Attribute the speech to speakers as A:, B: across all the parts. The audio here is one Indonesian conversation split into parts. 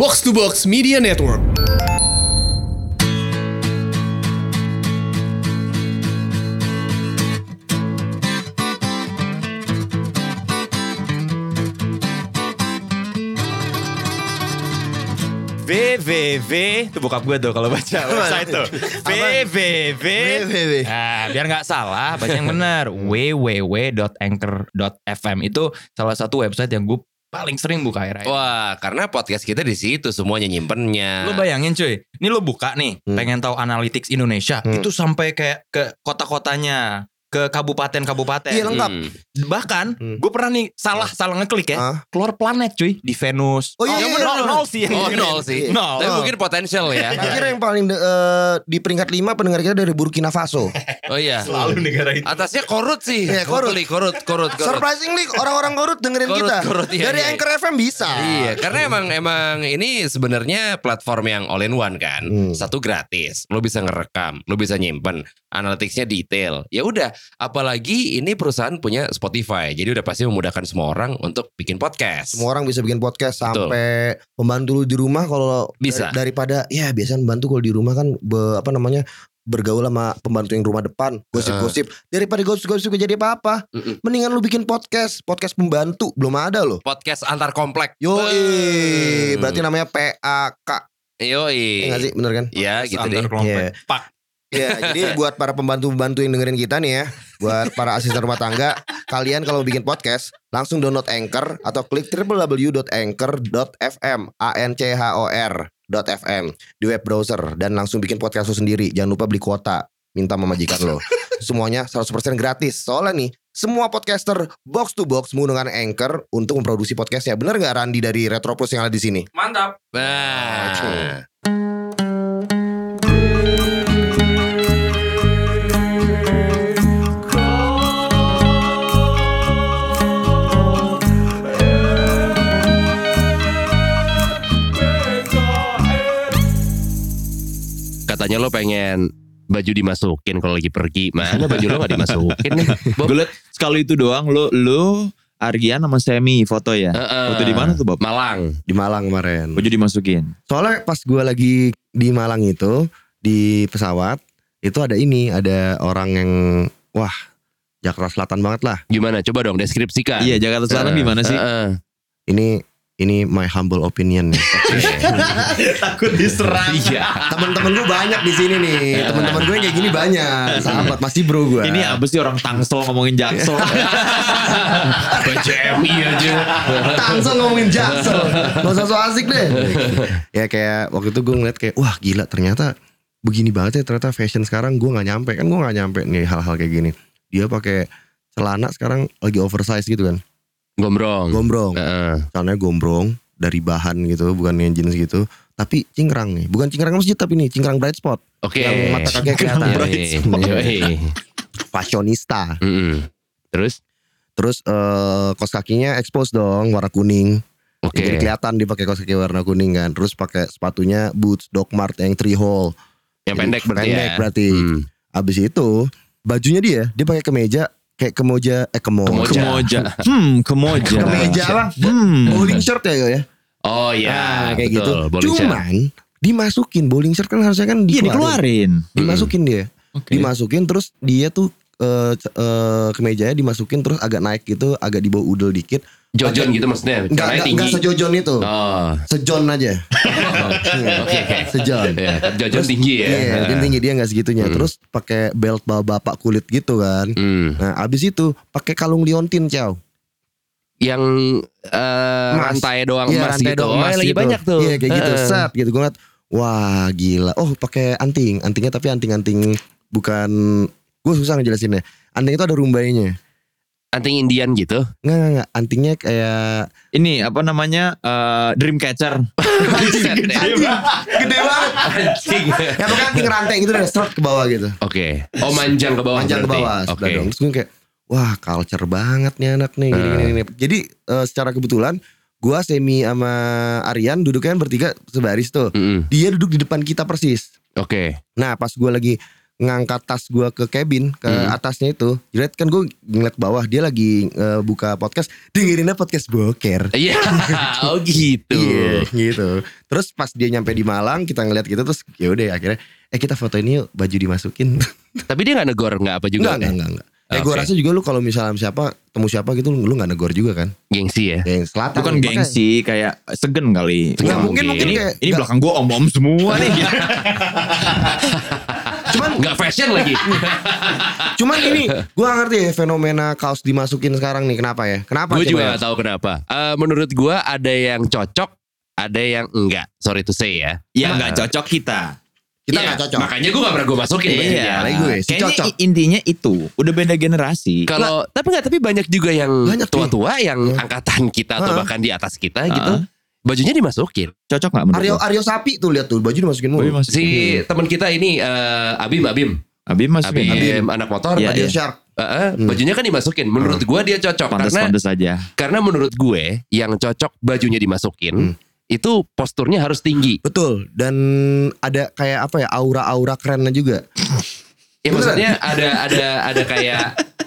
A: Box to Box Media Network.
B: VVV itu bokap gue tuh kalau baca website tuh. VVV.
C: VVV.
B: Nah, biar nggak salah baca yang benar. www.anchor.fm itu salah satu website yang gue paling sering buka
C: Eh.
B: akhir
C: Oh,
B: akhir.
D: Wah, karena podcast kita di situ semuanya nyimpennya.
B: Lo bayangin cuy, ini lo buka nih,
C: Hmm.
B: pengen tahu analytics Indonesia,
C: Hmm.
B: itu sampai kayak ke kota-kotanya, ke kabupaten-kabupaten.
C: Iya, lengkap.
D: Hmm.
B: Bahkan
C: Hmm.
B: gue pernah nih salah salah
D: Eh?
B: ngeklik ya,
C: Hah?
B: keluar planet cuy di Venus.
C: Oh, iya,
B: yang
C: iya,
B: bener,
C: iya.
B: nol sih yang
D: Oh,
B: ini.
D: nol sih.
B: Nol.
D: Tapi mungkin potensial ya.
C: Akhirnya yang paling de- eh, di peringkat 5 pendengar kita dari Burkina Faso.
D: Oh iya.
B: Selalu negara itu.
D: Atasnya korut sih.
C: Iya, korut.
D: Totally korut, korut, korut.
C: Surprisingly orang-orang korut dengerin
D: Korut,
C: kita.
D: korut, iya,
C: dari
D: iya.
C: Anchor FM bisa.
D: Iya, karena emang emang ini sebenarnya platform yang all in one kan.
C: Hmm.
D: Satu gratis, lo bisa ngerekam, lo bisa nyimpen, analitiknya detail. Ya udah, apalagi ini perusahaan punya Spotify, jadi udah pasti memudahkan semua orang untuk bikin podcast.
C: Semua orang bisa bikin podcast
D: Betul.
C: sampai pembantu lu di rumah kalau
D: Bisa.
C: dar- daripada ya biasanya pembantu kalau di rumah kan be- apa namanya bergaul sama pembantu yang rumah depan gosip-gosip daripada gosip-gosip gak jadi apa-apa
D: Mm-mm.
C: mendingan lu bikin podcast podcast pembantu belum ada loh
D: Podcast antar komplek.
C: Yoi,
D: Hmm.
C: berarti namanya PAK ya
D: Yoi.
C: nggak sih bener kan
D: Ya gitu deh.
C: Iya.
B: Pak.
C: Ya, jadi buat para pembantu-pembantu yang dengerin kita nih ya, buat para asisten rumah tangga, kalian kalau bikin podcast, langsung download Anchor atau klik www.anchor.fm, a n c h o r .fm di web browser dan langsung bikin podcast lu sendiri. Jangan lupa beli kuota, minta sama majikan lo. Semuanya 100% gratis. Soalnya nih, semua podcaster box to box menggunakan Anchor untuk memproduksi podcastnya. Bener nggak Randi dari Retropus yang ada di sini?
B: Mantap.
D: Nah. katanya lo pengen baju dimasukin kalau lagi pergi mana baju lo gak dimasukin nih Bob?
E: Gue liat sekali itu doang lu lu Argian sama Semi foto ya.
D: Heeh.
E: Foto di mana tuh, Bob?
D: Malang
C: Di Malang kemarin.
E: Baju dimasukin.
C: Soalnya pas gue lagi di Malang itu di pesawat itu ada ini ada orang yang wah Jakarta Selatan banget lah.
D: gimana coba dong deskripsikan
E: Iya, Jakarta Selatan gimana sih?
D: Heeh.
C: Ini ini my humble opinion nih.
B: Takut diserang. Iya.
C: Temen-temen gue banyak di sini nih. Temen-temen gue yang kayak gini banyak. Sahabat masih bro gue.
E: Ini apa sih orang Tangsel ngomongin Jaksel?
D: BCMI aja
C: langsung ngomongin jaksel. Gak usah so asik deh. ya kayak waktu itu gue ngeliat kayak wah gila ternyata begini banget ya ternyata fashion sekarang gue nggak nyampe kan gue nggak nyampe nih hal-hal kayak gini. Dia pakai celana sekarang lagi oversize gitu kan.
D: gombrong
C: Gombrong.
D: Heeh.
C: celananya gombrong dari bahan gitu bukan yang jeans gitu tapi cingkrang nih bukan cingkrang masjid tapi nih cingkrang bright spot
D: oke
C: yang mata kaki kelihatan Iya,
D: Yoi. Yoi.
C: fashionista
D: Mm-mm. terus
C: terus eh, kos kakinya expose dong warna kuning
D: oke
C: jadi kelihatan dipakai kaos kaki warna kuning kan terus pakai sepatunya boots Doc Mart yang three hole
D: yang pendek berarti
C: pendek
D: ya
C: berarti
D: Hmm.
C: abis itu bajunya dia dia pakai kemeja kayak kemoja eh kemo
D: Kemoja.
E: Kemoja. Hmm, kemoja.
C: kemeja lah
E: Hmm.
C: bowling shirt ya ya
D: oh ya
C: Nah, kayak
D: betul.
C: gitu
D: Boleh cek.
C: cuman dimasukin bowling shirt kan harusnya kan
E: Iya,
C: dikeluarin.
E: dikeluarin.
D: Hmm.
C: dimasukin dia dimasukin terus dia tuh eh c- eh, kemejanya dimasukin terus agak naik gitu agak di bawah udel dikit
D: jojon gitu maksudnya
C: nggak
D: caranya
C: nggak
D: tinggi
C: nggak sejojon itu
D: oh
C: sejon aja Iya,
D: oke oke
C: sejon
D: Ya, jojon tinggi ya
C: Iya, mungkin tinggi dia nggak segitunya.
D: Hmm.
C: Terus pakai belt bawa bapak kulit gitu kan.
D: Hmm.
C: Nah, abis itu pakai kalung liontin, Ciao.
D: yang eh,
C: Emas.
D: rantai doang
C: Iya,
D: emas
C: rantai
D: gitu.
C: doang
D: Emas
C: emas
D: lagi
C: gitu.
D: banyak tuh.
C: Iya, kayak gitu.
D: Heeh.
C: Set gitu gue ngeliat. Wah, gila. Oh, pakai anting. Antingnya tapi anting-anting bukan gue susah ngejelasinnya. Anting itu ada rumbainya.
D: Anting Indian gitu.
C: Enggak, enggak, enggak. Antingnya kayak
E: Ini apa namanya? eh, Dreamcatcher.
D: Set ya.
C: gede banget.
D: Anjing.
C: Ya pokoknya anting rantai gitu dari seret ke bawah gitu.
D: Oke. Oh manjang ke bawah.
C: Panjang ke
D: berarti.
C: bawah
D: Oke.
C: sebelah dong. Terus gue kayak wah culture banget nih anak nih gini, gini, gini. Jadi eh, secara kebetulan gua Semi sama Aryan duduknya kan bertiga sebaris tuh.
D: Mm-mm.
C: Dia duduk di depan kita persis.
D: Oke.
C: Nah, pas gua lagi ngangkat tas gua ke cabin ke
D: Hmm.
C: atasnya itu Jret kan gue ngeliat bawah dia lagi eh, buka podcast dengerinnya podcast boker
D: Iya, oh gitu.
C: Iya gitu. Terus pas dia nyampe di Malang kita ngeliat gitu terus ya udah akhirnya eh kita foto ini yuk baju dimasukin.
D: Tapi dia nggak negor nggak apa juga
C: enggak, enggak, enggak, enggak. Eh
D: Oke.
C: gue rasa juga lu kalau misalnya sama siapa temu siapa gitu lu nggak negor juga kan?
D: gengsi ya.
C: Yang selatan.
E: Bukan
C: makanya.
E: gengsi kayak segen kali.
C: Nggak,
E: Wah,
C: mungkin mungkin
D: Ini-
C: kayak
E: Ini
C: nggak-
E: belakang gua om-om semua nih.
C: cuman
D: Nggak fashion lagi.
C: cuman ini gue ngerti ya fenomena kaos dimasukin sekarang nih kenapa ya? Kenapa?
D: gue
C: coba
D: juga
C: ya?
D: nggak tahu kenapa. Eh, menurut gue ada yang cocok, ada yang enggak. Sorry to say ya.
E: Ya nggak cocok kita.
C: Kita
D: Iya,
C: nggak cocok.
D: Makanya gue nggak pernah gue masukin.
E: Iya,
C: lagi gue, si
E: Kayaknya
C: cocok.
E: i- intinya itu udah beda generasi.
D: Kalau tapi nggak tapi banyak juga yang
C: Banyak nih.
D: tua-tua yang
C: Hmm.
D: angkatan kita atau
C: Ha-ha.
D: bahkan di atas kita
E: Ha-ha.
D: gitu. Bajunya dimasukin.
E: Cocok nggak menurut
C: Aryo
E: lo?
C: Aryo sapi tuh lihat tuh baju dimasukin
E: Abi
C: mulu.
E: masih
D: Si teman kita ini eh, Abim Abim.
E: Abi masih
D: Abim, anak motor.
E: Iya,
C: Aryo
E: iya.
C: shark.
D: Eh, eh,
C: Hmm.
D: Bajunya kan dimasukin. Menurut gue dia cocok
E: pantas
D: karena
E: pantas aja.
D: karena menurut gue yang cocok bajunya
C: Hmm.
D: dimasukin itu posturnya harus tinggi.
C: Betul dan ada kayak apa ya aura-aura kerennya juga.
D: Ya
C: Beneran.
D: maksudnya ada ada ada kayak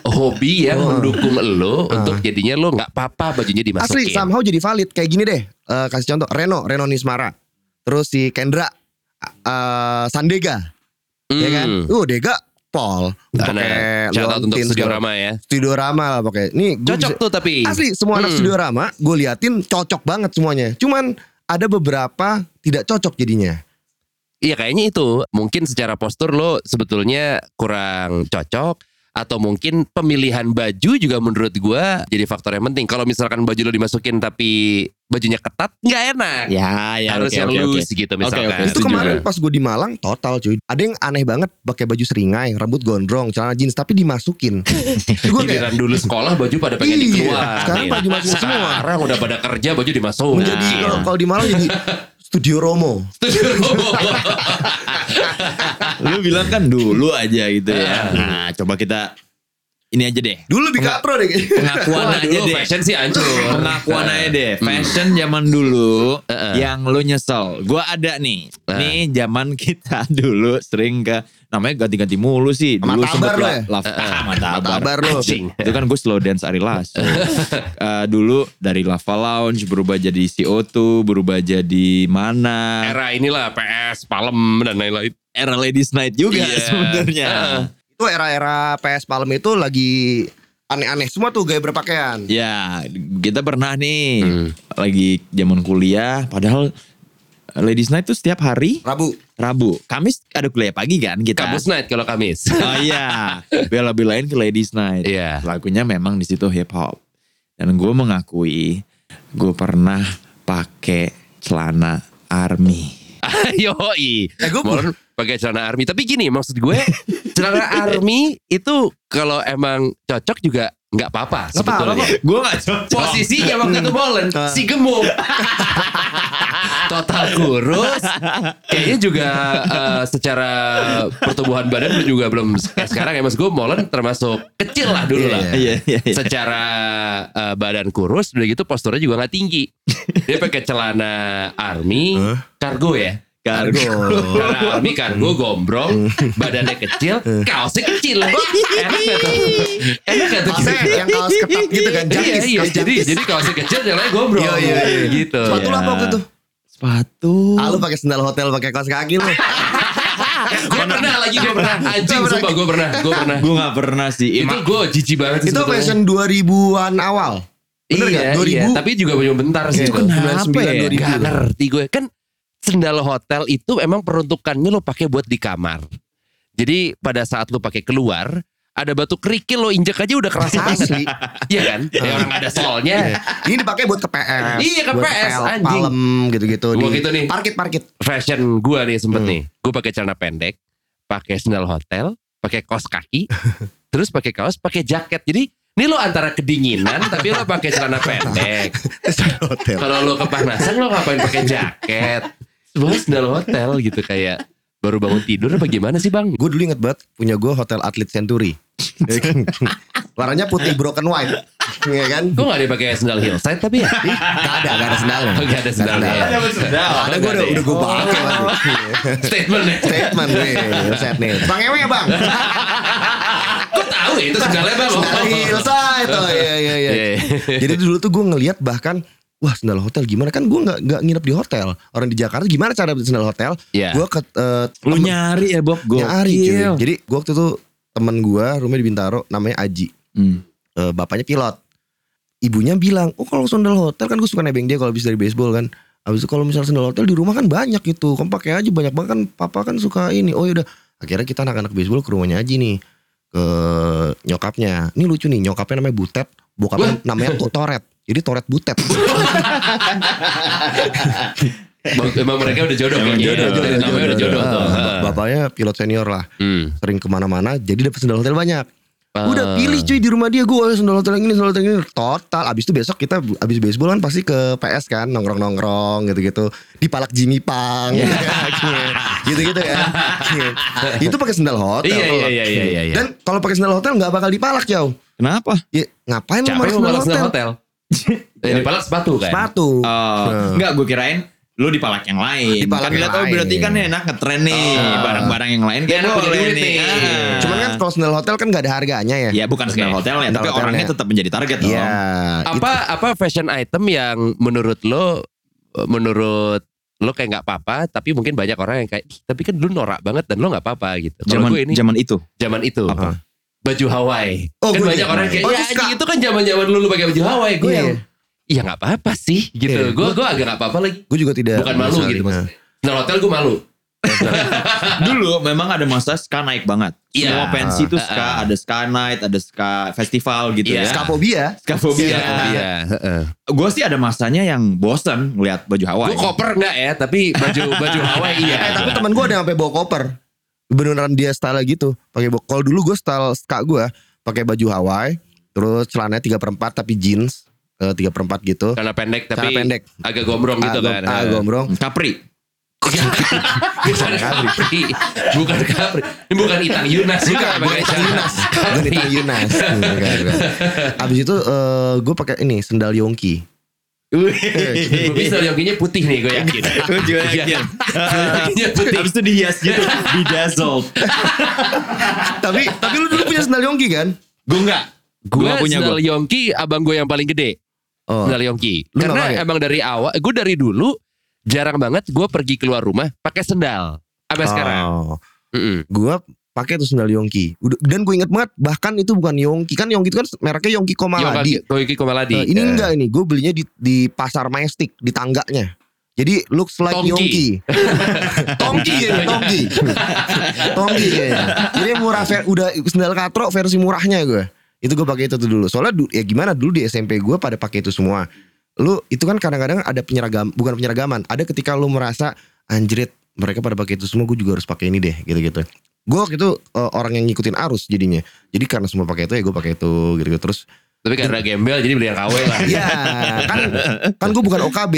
D: hobi
C: Oh.
D: yang mendukung lo
C: Ah.
D: untuk jadinya lo nggak apa-apa bajunya dimasukin.
C: Asli somehow jadi valid kayak gini deh. Eh, kasih contoh Reno, Reno Nismara. Terus si Kendra eh, Sandega,
D: Hmm.
C: ya kan? Uh, Dega Paul pakai
D: Karena shout out untuk
C: lontin
D: studio
C: segala-
D: Rama ya.
C: Studio Rama lah pakai. Nih gua
D: Cocok
C: bisa-
D: tuh tapi.
C: Asli semua anak
D: Hmm.
C: Studio Rama gue liatin cocok banget semuanya. Cuman ada beberapa tidak cocok jadinya.
D: Iya kayaknya itu. Mungkin secara postur lo sebetulnya kurang cocok atau mungkin pemilihan baju juga menurut gua jadi faktor yang penting. Kalau misalkan baju lo dimasukin tapi bajunya ketat nggak enak.
E: Ya, ya.
D: Harus
E: oke,
D: yang
E: oke, oke.
D: loose gitu misalkan.
E: oke,
C: Itu
E: setuju.
C: kemarin pas gue di Malang total cuy. Ada yang aneh banget pakai baju seringai, rambut gondrong, celana jeans tapi dimasukin. gue kayak
D: Giliran dulu sekolah baju pada pengen Nah,
C: Iya,
D: dikeluarin.
C: sekarang baju masuk semua.
D: Sekarang udah pada kerja baju dimasukin. Gitu
C: menjadi kalau- kalau di Malang jadi Studio Romo.
E: Nah, Lu bilang kan dulu aja gitu ya. Nah, coba kita ini aja deh.
C: Dulu lebih kapro deh. kayaknya.
E: Pengakuan
D: Wah,
E: aja
D: dulu
E: deh.
D: fashion sih hancur. Ah.
E: Pengakuan aja deh. Fashion zaman dulu yang lu nyesel. Gua ada nih. Nih zaman kita dulu sering ke namanya ganti-ganti mulu sih. Dulu
C: Matabar
E: sempet
C: lo
E: la-
C: ya?
E: laf- ah, Matabar.
C: Matabar lo.
D: Anjing.
E: Itu kan gue slow dance Ari Lasso. Eh, dulu dari Lava Lounge berubah jadi CO2, berubah jadi mana.
D: Era inilah PS, Palem dan lain-lain.
E: Era Ladies Night juga
D: Iya.
E: sebenarnya.
D: Heeh.
C: Itu era-era PS Palem itu lagi aneh-aneh semua tuh gaya berpakaian.
E: Ya, kita pernah nih
D: Hmm.
E: lagi zaman kuliah, padahal Ladies Night tuh setiap hari
C: Rabu.
E: Rabu, Kamis ada kuliah pagi kan kita.
D: Kamus night kalau Kamis.
E: Oh iya, bela-belain ke Ladies Night.
D: Iya.
E: Lagunya memang di situ hip hop. Dan gue mengakui, gue pernah pakai celana army.
D: Yoi.
C: Eh, gua-
D: Moron pakai celana army. Tapi gini maksud gue, celana army itu kalau emang cocok juga nggak apa-apa sebetulnya.
E: Gue gak cocok.
D: Posisinya waktu itu Bolen si gemuk. Total kurus. Kayaknya juga eh, secara pertumbuhan badan lu juga belum kayak sekarang ya Mas gue Molen termasuk kecil lah dulu lah.
E: Iya, iya, iya.
D: Secara eh, badan kurus udah gitu posturnya juga nggak tinggi. Dia pakai celana army kargo ya.
E: Kargo.
D: Karena Army kargo gombrong, badannya kecil, kaosnya kecil. Enak gak tuh? Enak gak tuh?
C: Kaosnya yang kaos ketat gitu kan,
D: Iya,
C: jakis,
D: iya.
C: kaos
D: Jadi,
C: jakis.
D: jadi kaosnya kecil, jalannya gombrong.
C: Iya, iya, iya.
D: Gitu.
C: Sepatu lu apa waktu itu?
E: Sepatu.
C: Ah lu pakai sendal hotel pakai kaos kaki lu.
D: Gue pernah lagi, gue pernah. Anjing,
C: Gua pernah.
D: sumpah gue pernah. Gue pernah.
E: Gue gak pernah sih.
D: Itu gue jijik banget sih
C: itu
D: sebetulnya.
C: fashion 2000-an awal. Bener
D: iya,
C: gak? 2000.
D: iya. Tapi juga cuma bentar sih.
C: Itu
D: itu.
E: kenapa
D: 99,
E: ya?
D: 2000. Gak ngerti gue. Kan sendal hotel itu emang peruntukannya lo pakai buat di kamar. Jadi pada saat lo pakai keluar, ada batu kerikil lo injek aja udah kerasa banget.
C: Asli.
D: Iya kan? Ya orang ada solnya.
C: Ini dipakai buat ke PS.
D: Iya, ke
C: buat
D: PS,
C: pel-
D: anjing.
C: Palem gitu-gitu
D: Gua gitu nih.
C: Parkit-parkit.
D: Fashion gue nih sempet nih. Gue pakai celana pendek, pakai sandal hotel, pakai kaos kaki, terus pakai kaos, pakai jaket. Jadi ini lo antara kedinginan tapi lo pakai celana pendek.
C: Sendal hotel.
D: Kalau lo kepanasan lo ngapain pakai jaket? Sebenarnya sandal hotel gitu kayak baru bangun tidur apa gimana sih bang?
C: Ya kan? Gue dulu inget banget punya gue hotel atlet Century. Warnanya putih broken white. Iya kan?
D: Kok gak dipakai sendal hillside tapi ya?
C: Gak ada, gak ada sendalnya.
D: Oh, nggak ada sendalnya. Oh,
C: Nggak ada
E: Sedap.
C: Nggak ada gue udah, udah gue pakai lagi.
D: Statementnya.
C: Statement nih, set nih. Bang Ewe ya bang.
D: Kok tahu ya itu sendalnya bang?
C: Sendal hillside. Oh, iya, iya, iya.
D: Iya, iya.
C: Jadi dulu tuh gue ngelihat bahkan Wah sendal hotel gimana kan gue nggak nggak nginep di hotel orang di Jakarta gimana cara dapetin sendal hotel?
D: Iya.
C: Gue ke eh,
E: Lu nyari ya Bob Gokil
C: nyari cuy. Jadi gue waktu itu temen gue rumah di Bintaro namanya Aji
E: Hmm.
C: Eh, bapaknya pilot. Ibunya bilang, oh kalau sandal hotel kan gue suka nebeng dia kalau habis dari baseball kan. Habis itu kalau misalnya sandal hotel di rumah kan banyak gitu. Kamu pakai aja banyak banget kan papa kan suka ini. Oh yaudah. Akhirnya kita anak-anak baseball ke rumahnya aja nih. Ke nyokapnya. Ini lucu nih nyokapnya namanya Butet. Bokapnya namanya tuh Toret. Jadi Toret Butet.
D: Bang- Emang mereka udah jodoh
C: Iya,
E: Emang
D: kayaknya.
E: jodoh, jodoh,
D: Namanya udah jodoh tuh.
C: Nah, Bapaknya pilot senior lah.
D: Hmm.
C: Sering kemana-mana jadi dapat sandal hotel banyak.
D: Ah.
C: Udah pilih cuy di rumah dia gue oh, sendal hotel yang ini sendal hotel yang ini total. Abis itu besok kita abis baseball kan pasti ke PS kan nongkrong nongkrong gitu gitu di palak Jimmy Pang
D: Iya.
C: gitu gitu ya. itu pakai sendal
D: Iya,
C: hotel.
D: iya, iya, iya, iya, iya.
C: Dan kalau pakai sendal hotel nggak bakal dipalak jauh.
E: Kenapa?
C: Ya, ngapain lu
D: Capek
C: pakai
D: mau
C: sendal
D: balas
C: hotel?
D: sendal hotel. Ya dipalak sepatu kan.
C: Sepatu.
E: Oh, enggak gue kirain lu di palak yang
C: Di
E: lain.
C: palak Ah,
E: kan
C: yang
E: lihat, oh,
C: lain. Ah.
E: berarti kan enak ngetren nih
D: Oh.
E: barang-barang yang lain
D: Dia
E: kan
D: enak punya
E: boleh
D: duit
E: nih.
D: nih.
E: Ah.
C: Cuman kan kalau sendal hotel kan nggak ada harganya
D: Iya.
C: ya.
E: ya bukan sendal
D: Oke.
E: hotelnya
C: Sendal
E: tapi
C: hotelnya.
E: orangnya tetap menjadi target dong.
C: Iya.
D: apa apa fashion item yang menurut lo menurut lo kayak nggak apa-apa tapi mungkin banyak orang yang kayak "Ih, tapi kan dulu norak banget dan lo nggak apa-apa gitu kalau
E: Zaman
D: gue ini
E: zaman itu.
D: zaman itu
E: Apa?
D: baju Hawaii
C: Oh,
D: kan
C: gue
D: banyak
C: juga.
D: orang kayak
C: Oh,
D: ya
C: itu suka."
D: anjing, itu kan zaman zaman lu lu pakai baju Hawaii gue
C: Iya.
D: yang iya nggak apa-apa sih gitu
C: Iya.
D: gue gue agak nggak apa-apa lagi
C: Gue juga tidak.
D: bukan malu
C: menyesali.
D: gitu mas
C: Nah.
D: nah hotel gue malu
E: Dulu memang ada masa ska naik banget.
D: Iya.
E: Semua pensi itu
D: Ah.
E: ska, ada ska night, ada ska festival gitu
D: Iya.
E: ya.
C: Skafobia.
E: Ska fobia.
D: iya heeh.
E: Gue sih ada masanya yang bosen ngeliat baju
D: gue
C: iya.
E: Hawaii.
D: koper nggak ya tapi baju baju Hawaii iya
C: Eh, tapi teman gue ada yang sampai bawa koper. Beneran dia style gitu. Pakai bo- kalau dulu gue style ska gue pakai baju Hawaii, terus celananya 3 per 4 tapi jeans eh, 3 per 4 gitu.
D: karena pendek tapi
C: Celana pendek.
D: agak gombrong gitu
C: Ah,
D: kan Iya.
C: gom- ah, gombrong.
E: Capri.
D: bukan Capri bukan Capri ini bukan Itang Yunas juga bukan Itang Yunas
C: Bukan Itang Yunas. Hmm, bukan, bukan. Abis itu gue pakai ini sendal Yongki.
D: Bobby Saryoginya putih nih gue yakin
E: Gue juga yakin.
D: Saryoginya putih
E: Habis itu dihias gitu, bedazzled.
C: tapi tapi lu dulu punya sendal Yongki kan?
E: Gue enggak.
D: gue
E: Gua punya
D: sendal
E: gue.
D: Yongki abang gue yang paling gede
C: Oh.
D: sendal Yongki
C: Lu nggak
D: karena
C: pakai?
D: emang dari awal gue dari dulu jarang banget gue pergi keluar rumah pakai sendal sampai sekarang
C: Oh.
D: Mm-mm.
C: Gue pakai tuh sendal Yongki. Udah- Dan gue inget banget bahkan itu bukan Yongki kan Yongki itu kan mereknya Yongki Komaladi.
D: Yongki Yongki Komaladi
C: Eh, ini enggak ini, gue belinya di di pasar Majestic di tangganya. Jadi looks like
D: Tongki.
C: Yongki. Tongki ya, Tongki. Tongki kayaknya. Jadi murah ver- udah sendal katro versi murahnya gue. Itu gue pakai itu tuh dulu. Soalnya du- ya gimana dulu di SMP gue pada pakai itu semua. Lu itu kan kadang-kadang ada penyeragam bukan penyeragaman, ada ketika lu merasa anjrit mereka pada pakai itu semua gue juga harus pakai ini deh gitu-gitu. Gue waktu itu eh, orang yang ngikutin arus jadinya. Jadi karena semua pakai itu ya gue pakai itu gitu-gitu terus
D: tapi karena gembel jadi beli yang KW lah
C: Iya, kan kan gue bukan OKB.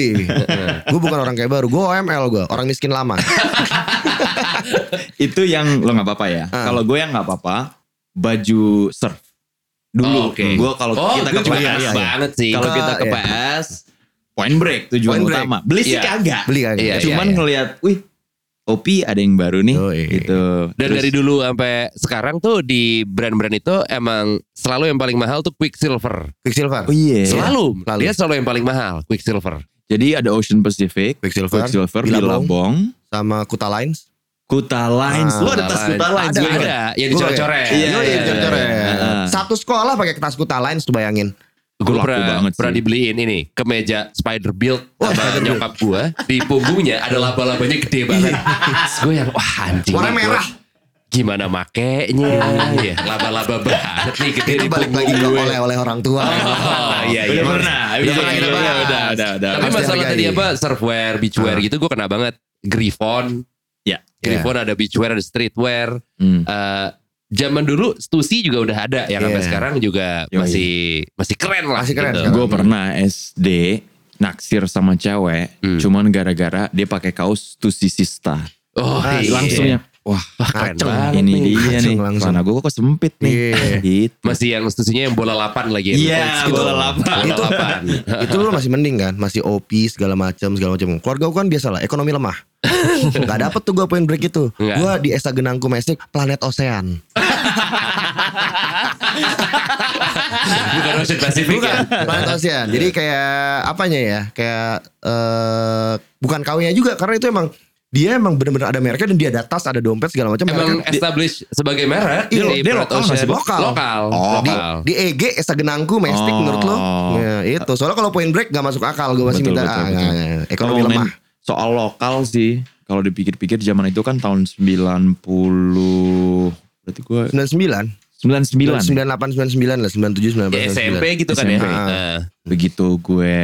C: gue bukan orang kayak baru. Gue OML gue, orang miskin lama.
E: Itu yang lo nggak apa-apa ya.
C: Ah.
E: Kalau gue yang nggak apa-apa, baju surf. Dulu
D: Oh, oke.
E: gue kalau
D: Oh,
E: kita
D: gue
E: ke
D: juga
E: PS,
D: iya, iya. banget sih.
E: Kalau kita ke
C: Iya.
E: PS, point break tujuan
C: Point break.
E: utama. Beli sih
D: Iya.
E: kagak.
C: Beli kan. kagak.
D: Iya,
E: Cuman
D: iya.
E: ngelihat, wih, Opi ada yang baru nih,
C: Yoi.
E: gitu.
D: Dan
E: Terus-
D: dari dulu sampai sekarang tuh di brand-brand itu emang selalu yang paling mahal tuh Quicksilver.
C: Quicksilver.
E: Oh iya.
D: Selalu.
C: Selalu.
D: Dia selalu yang paling mahal Quicksilver.
E: Jadi ada Ocean Pacific,
C: Quicksilver,
E: Quicksilver,
C: Billabong.
E: Billabong,
C: sama Kuta Lines.
E: Kuta Lines.
C: Ah,
E: Lo ada tas Kuta Lines
D: Ada,
E: gue ingat.
D: ada. Yang dicoret-coret.
E: Iya,
C: Yoi,
E: iya,
C: dicoret-coret.
E: iya.
C: Satu sekolah pakai kertas Kuta Lines tuh bayangin.
D: Gue
E: Laku
D: pernah,
E: banget sih.
D: pernah dibeliin ini kemeja spider build sama nyokap gue di punggungnya ada laba-labanya gede banget. Terus gue yang wah anjing.
C: Warna
D: nih, gua
C: merah.
D: Gimana makainya? ya, laba-laba banget nih gede
C: Itu
D: di
C: balik
D: punggung
C: lagi ke
D: gue.
C: oleh oleh orang tua.
D: Oh, iya, iya. Udah
E: Udah pernah. Iya,
D: pernah, udah
E: iya, iya,
D: pernah.
E: udah, udah, udah.
D: Tapi
C: Harus
D: masalah
C: dihargai. Ah.
D: tadi apa surfwear, beachwear gitu gue kena banget. Griffon.
E: Ya.
D: Griffon ada beachwear, ada streetwear.
E: Hmm.
D: Eh, zaman dulu Stussy juga udah ada yang sampai
C: Iya.
D: sekarang juga
E: Yoi.
D: masih masih keren lah.
C: Masih keren kan?
D: gitu.
C: sekarang.
E: Gue pernah SD naksir sama cewek,
D: Hmm.
E: cuman gara-gara dia pakai kaos Tusisista.
D: Oh,
C: Ah,
D: iya.
E: Langsung yang,
D: Wah, keren
C: kaceng.
D: banget. Iya
E: Ini
C: nih.
E: dia nih.
C: Langsung, langsung.
E: Celana gue kok sempit nih.
C: Iya.
E: Gitu.
D: Masih yang setujunya yang bola lapan lagi. ya?
E: Iya,
D: Itu.
E: bola lapan.
D: Bola
C: Itu-
D: lapan.
C: itu lu masih mending kan masih OP segala macam segala macam keluarga gue kan biasa lah ekonomi lemah nggak dapet tuh gue point break itu
D: Nggak.
C: gue di Esa Genangku Mesik planet ocean
D: Bukan Ocean Pacific ya?
C: planet ocean Iya.
E: Iya.
C: jadi kayak apanya ya kayak eh bukan kawinnya juga karena itu emang dia emang bener-bener ada mereknya dan dia ada tas ada dompet segala macam
D: Emang
C: mereknya.
D: establish sebagai merek
C: Iya,
D: di
C: dia
D: Blood
C: lokal nggak
D: Ocean.
C: sih? Lokal.
D: Lokal.
C: Oh, di,
D: lokal.
C: di EG Esa Genangku Mesik
E: Oh.
C: menurut lo ya, itu soalnya kalau point break gak masuk akal gue masih
E: Betul,
C: minta
E: betul,
C: ah,
E: betul.
C: nggak, nggak, nggak. ekonomi
E: Ngomongin
C: lemah
E: Soal lokal sih. Kalau dipikir-pikir zaman itu kan tahun 90 berarti gue
C: 99
E: 99.
C: 98 99 lah 97 98
D: Di SMP gitu kan ya.
E: SMP.
C: Ah.
D: Heeh.
E: Begitu gue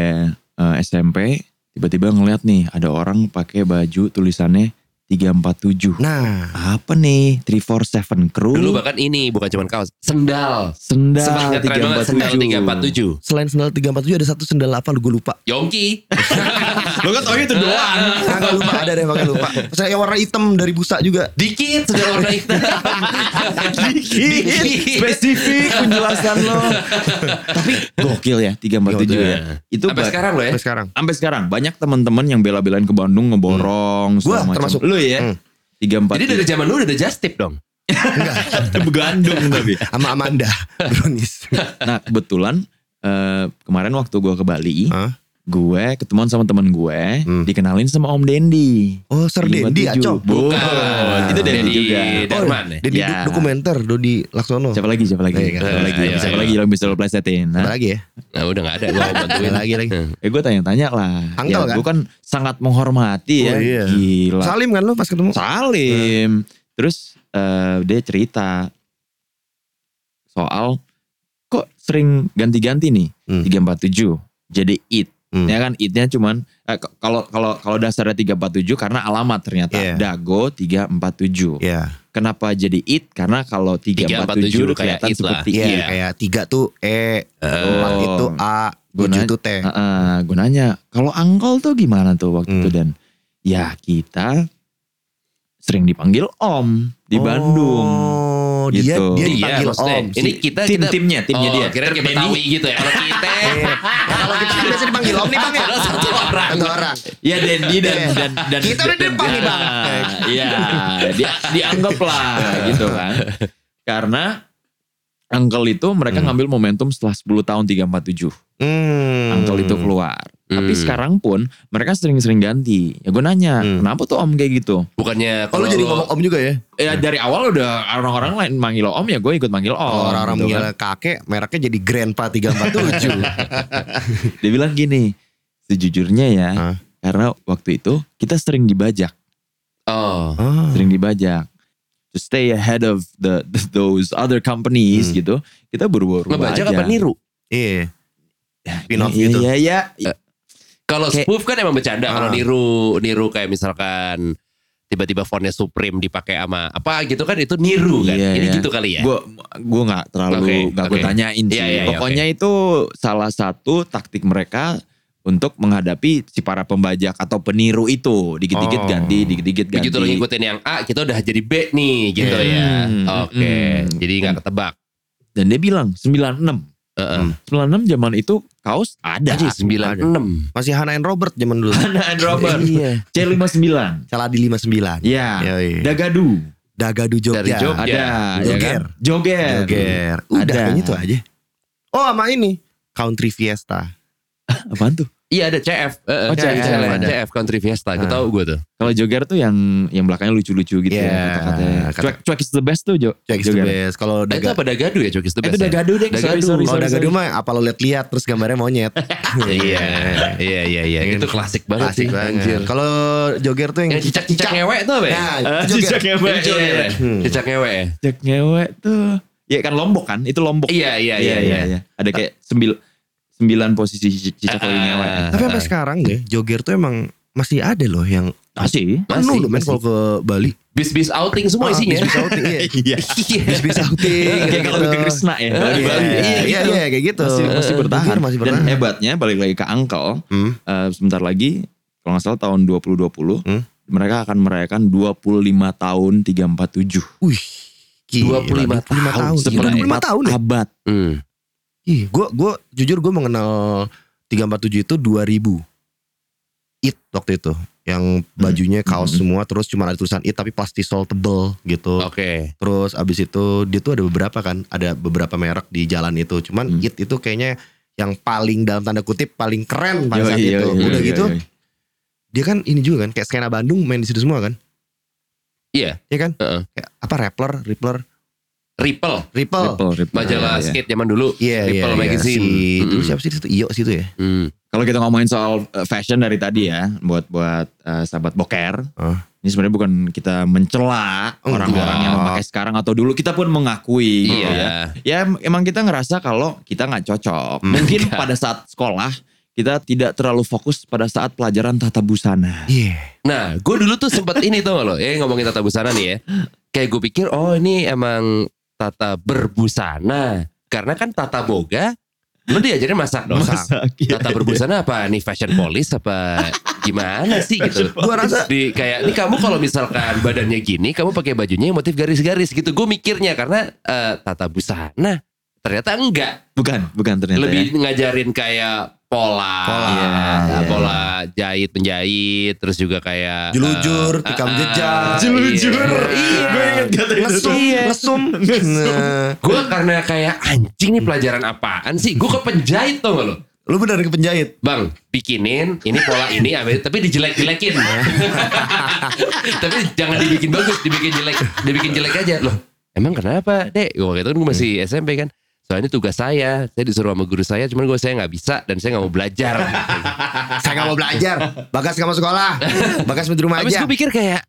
E: eh, SMP tiba-tiba ngeliat nih ada orang pakai baju tulisannya 347.
C: Nah,
E: Apa nih? 347 crew.
D: Dulu bahkan ini bukan cuma kaos, sendal.
E: sendal
D: Sempat ngetren banget sendal 347.
C: selain sendal 347 ada satu sendal apa lu gue lupa.
D: Yongki.
B: Lo kan tau itu doang.
C: Kagak lupa ada deh pakai lupa. Saya yang warna hitam dari busa juga.
D: Dikit sudah warna hitam. Dikit.
E: Spesifik penjelasan lo. Tapi gokil ya 347 ya. Itu
D: Sampai
E: ba-
D: sekarang loh ya.
C: Sampai sekarang.
E: sampai sekarang banyak teman-teman yang bela-belain ke Bandung
C: Gua
E: ngeborong segala macam.
C: Hmm. termasuk.
E: Lu ya.
C: Hmm.
E: 347.
D: Jadi dari zaman dulu udah just tip dong.
E: begandung tapi.
C: Sama Amanda Bronis.
E: Nah, kebetulan eh, kemarin waktu gua ke Bali,
C: Hah?
E: gue ketemuan sama temen gue,
C: Hmm.
E: dikenalin sama Om Dendi.
C: Oh, Sir Dendi ya,
E: 347.
C: Cok.
E: Bukan.
C: Ah,
E: Itu
D: dari
E: Dendi juga.
D: Darman ya.
C: Dendi
E: Ya.
C: du- dokumenter Dodi Laksono.
E: Siapa lagi? Siapa lagi?
C: Iya,
E: Siapa
D: iya,
E: lagi?
D: iya,
E: Siapa
D: iya.
E: lagi yang bisa lo plesetin?
C: Ada
E: Nah,
C: lagi ya.
D: Nah udah gak ada gue mau
C: Ada
D: bantuin.
C: lagi lagi.
E: Eh gue tanya-tanya lah.
C: Angkel
E: ya,
C: kan?
E: Gue kan sangat menghormati ya.
C: Oh, iya.
E: Gila.
C: Salim kan lu pas ketemu?
E: Salim. Terus eh, dia cerita soal kok sering ganti-ganti nih
C: Hmm.
E: 347. Jadi it.
C: Hmm.
E: Ya kan itnya cuman eh, k- kalau kalau kalau dasarnya 347 karena alamat ternyata
C: Iya.
E: dago 347.
C: Iya.
E: Kenapa jadi it? Karena kalau
D: 347
E: 347, udah kelihatan
D: kayak it lah.
E: seperti
C: Iya,
E: it.
D: Iya.
C: kayak tiga tuh E, empat
E: Oh. Ah,
C: itu A, tujuh
E: Gunanya-
C: itu T.
E: Heeh, gue nanya, kalau angkol tuh gimana tuh waktu
C: Hmm.
E: itu dan ya kita sering dipanggil om di Bandung.
C: Oh, dia
E: Gitu.
C: dia
D: Iya,
C: dipanggil
D: maksudnya.
C: Om.
D: Ini kita kita
E: timnya,
D: oh, Kira kayak Betawi gitu ya. Kalau kita
C: Eh, Kalau kita kan biasa dipanggil Om nih Bang ya.
D: Padahal satu orang.
C: Satu orang.
E: Ya Dendi dan dan dan
C: Kita udah
E: dan-
C: depan nih,
E: ya,
C: Bang.
E: Iya, dia dianggap lah gitu kan. Karena Angkel itu mereka
C: Hmm.
E: ngambil momentum setelah 10 tahun 347.
C: Hmm.
E: Angkel itu keluar. Tapi
D: Hmm.
E: sekarang pun mereka sering-sering ganti. Ya gue nanya,
C: Hmm.
E: kenapa tuh om kayak gitu?
D: Bukannya
C: Oh,
D: kalau
C: lu jadi ngomong om juga ya?
E: Ya dari awal udah orang-orang lain manggil om ya gue ikut manggil om.
C: Kalau Oh, orang-orang
E: gitu kan.
C: manggil kakek, mereknya jadi Grandpa 347.
E: Dia bilang gini, sejujurnya ya,
C: Hah?
E: karena waktu itu kita sering dibajak,
D: oh
C: oh.
E: sering dibajak. To stay ahead of the, those other companies
C: Hmm.
E: gitu, kita buru-buru
D: ngebajak apa niru?
C: Iya.
E: Iya,
C: Spin-off gitu.
E: Iya, iya.
D: Eh, Kalau
E: Kayak-
D: spoof kan emang bercanda. Kalau
C: Ah.
D: niru niru kayak misalkan tiba-tiba fontnya Supreme dipakai sama apa gitu kan itu niru kan.
E: Iya,
D: Ini
E: iya.
D: gitu kali ya.
E: Gue gue nggak
D: Oke,
E: terlalu nggak gue
D: oke.
E: tanyain sih.
D: Iya, iya, iya,
E: Pokoknya itu salah satu taktik mereka untuk menghadapi si para pembajak atau peniru itu dikit-dikit
C: Oh.
E: ganti, dikit-dikit ganti.
D: Begitu lo ngikutin yang A, kita udah jadi B nih gitu
E: Hmm.
D: ya. Oke,
E: Hmm.
D: jadi nggak ketebak.
E: Dan dia bilang 96.
D: Heeh.
E: 96 zaman itu kaos Hmm. ada.
D: Tadi 96.
C: Masih Hannah and Robert zaman dulu.
E: Hannah and Robert.
C: Iya.
E: C59.
C: Salah di 59.
E: Ya.
D: Iya.
C: Yoi.
E: Dagadu.
C: Dagadu Jogja.
D: Dari Jogja.
E: Ada.
D: Ya.
E: ya
C: Joger.
E: kan? Joger.
C: Joger. Udah
E: Ada.
C: kayaknya itu aja. Oh sama ini. Country Fiesta.
E: Apaan tuh?
D: Iya ada CF. Heeh,
E: Oh,
D: CF,
E: CF,
D: CF,
E: ada. Ah.
D: CF Country Fiesta. Gue tau gue tuh.
E: Kalau Joger tuh yang yang belakangnya lucu-lucu gitu
C: Iya,
E: ya kata-katanya.
C: kata-
E: Cuek, cuek is the best tuh Jo.
C: Jack is the best. Kalau
D: Eh, itu
C: Daga-
D: apa Dagadu ya Jokis the
E: Eh,
D: Best?
E: Itu
D: ya?
E: Dagadu deh.
D: Dagadu. Oh,
E: Sorry, sorry,
C: Kalau
E: sorry,
C: Dagadu
E: sorry.
C: mah apa lo lihat-lihat terus gambarnya monyet.
D: Iya, iya, iya, iya. Itu klasik banget sih.
C: Asik
D: Anjir.
C: banget. Kalau Joger tuh yang
D: Yang cicak-cicak ngewek tuh apa ya?
C: Nah,
E: Eh,
C: Joger.
E: cicak ngewek.
D: Yang cewek ya?
C: Hmm.
D: Cicak ngewek ya?
E: Cicak ngewek tuh. Ya kan Lombok kan? Itu Lombok.
D: Iya, iya, iya, iya.
E: Ada kayak sembil, sembilan posisi cic- cicak lagi
D: Ah.
E: ngewek.
C: Tapi sampai sekarang deh, Joger tuh emang masih ada loh yang
E: Masih.
C: penuh loh men
D: masih.
C: kalau ke Bali.
D: Bis-bis outing semua
C: Ah,
D: isinya.
C: bis-bis outing, iya.
E: Iya.
C: bis-bis outing
E: Kayak
C: gitu.
E: kalau ke Krishna ya.
C: Iya,
E: Kalau di Bali.
C: iya, iya,
E: gitu.
C: iya, kayak gitu.
E: Masih, masih
C: Eh,
E: bertahan.
C: Joger masih bertahan.
E: Dan hebatnya balik lagi ke Angkel.
C: Hmm.
E: eh, sebentar lagi kalau nggak salah tahun 2020
C: Hmm.
E: mereka akan merayakan 25 tahun 347.
C: Wih. Gila,
D: 25 tahun,
C: Gila,
D: gila,
C: 25 tahun ya.
E: abad.
D: Hmm.
C: Ih, gua gua jujur gua mengenal 347 itu 2000. It waktu itu yang bajunya kaos
E: Hmm. Oh.
C: semua terus cuma ada tulisan it tapi plastisol tebel gitu.
D: Oke.
C: Terus abis itu dia tuh ada beberapa kan, ada beberapa merek di jalan itu. Cuman
E: Hmm.
C: it itu kayaknya yang paling dalam tanda kutip paling keren pada saat
E: Yoi,
C: itu.
E: yoi,
C: Udah
E: yoi,
C: gitu
E: yoi.
C: dia kan ini juga kan kayak skena Bandung main di situ semua kan.
D: Iya.
C: Iya kan?
D: Heeh.
C: Kayak apa Rappler, Rippler,
D: Ripple,
C: Ripple.
E: Ripple, Ripple.
D: majalah
E: Iya, iya.
D: skate zaman dulu.
C: Iya, iya,
D: Ripple
C: iya.
D: magazine. Hmm.
C: Si, dulu
D: Mm-mm.
C: siapa sih di situ? Iyo situ ya.
D: Hmm.
E: Kalau kita ngomongin soal eh, fashion dari tadi ya, buat buat eh, sahabat boker,
C: Heeh.
E: ini sebenarnya bukan kita mencela
C: Enggak.
E: orang-orang yang memakai sekarang atau dulu. Kita pun mengakui, gitu ya.
D: Iya.
E: Ya em- emang kita ngerasa kalau kita nggak cocok. Mungkin
D: Enggak.
E: pada saat sekolah kita tidak terlalu fokus pada saat pelajaran tata busana.
C: Iya.
D: Nah, gue dulu tuh sempat ini tau gak lo, ya ngomongin tata busana nih ya. Kayak gue pikir, oh ini emang tata berbusana. Karena kan tata boga, lo diajarin masak doang. Tata berbusana apa nih fashion police apa gimana sih gitu. Gue rasa di kayak ini kamu kalau misalkan badannya gini, kamu pakai bajunya yang motif garis-garis gitu. Gue mikirnya karena eh, tata busana ternyata enggak
E: Bukan, bukan ternyata.
D: lebih
E: ya.
D: ngajarin kayak pola,
C: gitu Pola,
D: ya,
C: iya.
D: pola jahit menjahit, terus juga kayak
C: Jelujur,
D: eh,
C: tikam
D: eh,
C: jejak.
D: eh,
E: Jelujur.
D: iya.
E: Gue inget kata itu.
C: Ngesum,
D: Iya.
C: ngesum. Nah,
D: Gue karena kayak anjing nih pelajaran apaan sih? Gue ke penjahit tau gak lo?
C: lu bener ke penjahit.
D: Bang, bikinin ini pola ini ambil- tapi dijelek-jelekin. tapi jangan dibikin bagus, dibikin jelek, dibikin jelek aja loh. Emang kenapa, Dek? Waktu itu kan gue masih SMP kan. Soalnya ini tugas saya, saya disuruh sama guru saya, cuman gue saya nggak bisa dan saya nggak mau belajar.
C: Saya gak mau belajar. Bagas gak mau sekolah. Bagas main di rumah
D: Habis
C: aja.
D: gue pikir kayak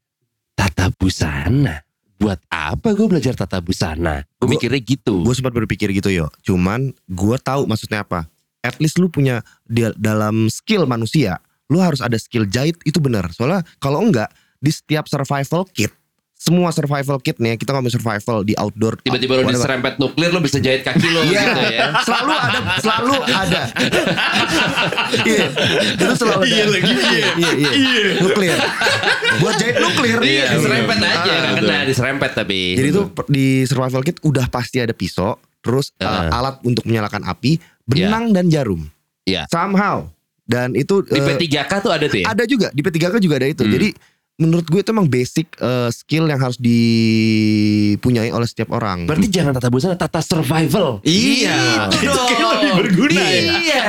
D: tata busana. Buat apa gue belajar tata busana? Gue
C: Gua-
D: mikirnya gitu.
C: Gue sempat berpikir gitu yo. Cuman gue tahu maksudnya apa. At least lu punya di, dalam skill manusia. Lu harus ada skill jahit itu bener. Soalnya kalau enggak di setiap survival kit. Semua survival kit nih kita ngomong survival di outdoor.
D: Tiba-tiba lo
C: whatever.
D: diserempet nuklir lo bisa jahit kaki lo
C: Iya,
D: gitu ya.
C: selalu ada, selalu ada. Iya, itu selalu ada. Iya lagi, iya, iya, nuklir. Buat jahit nuklir,
D: Iya, diserempet aja,
C: Ah,
D: nggak
C: betul.
D: kena diserempet tapi.
C: Jadi itu per- di survival kit udah pasti ada pisau, terus uh,
D: Ah.
C: alat untuk menyalakan api, benang dan jarum.
D: Iya.
C: Somehow dan itu
D: di
C: uh,
D: P3K tuh ada tuh ya.
C: ada juga di P3K juga ada itu.
D: Hmm.
C: Jadi menurut gue itu emang basic uh, skill yang harus dipunyai oleh setiap orang.
D: Berarti jangan tata busana, tata survival.
E: Iya.
D: Gitu
E: Itu
D: dong.
E: kayaknya lebih berguna ya.
D: Iya,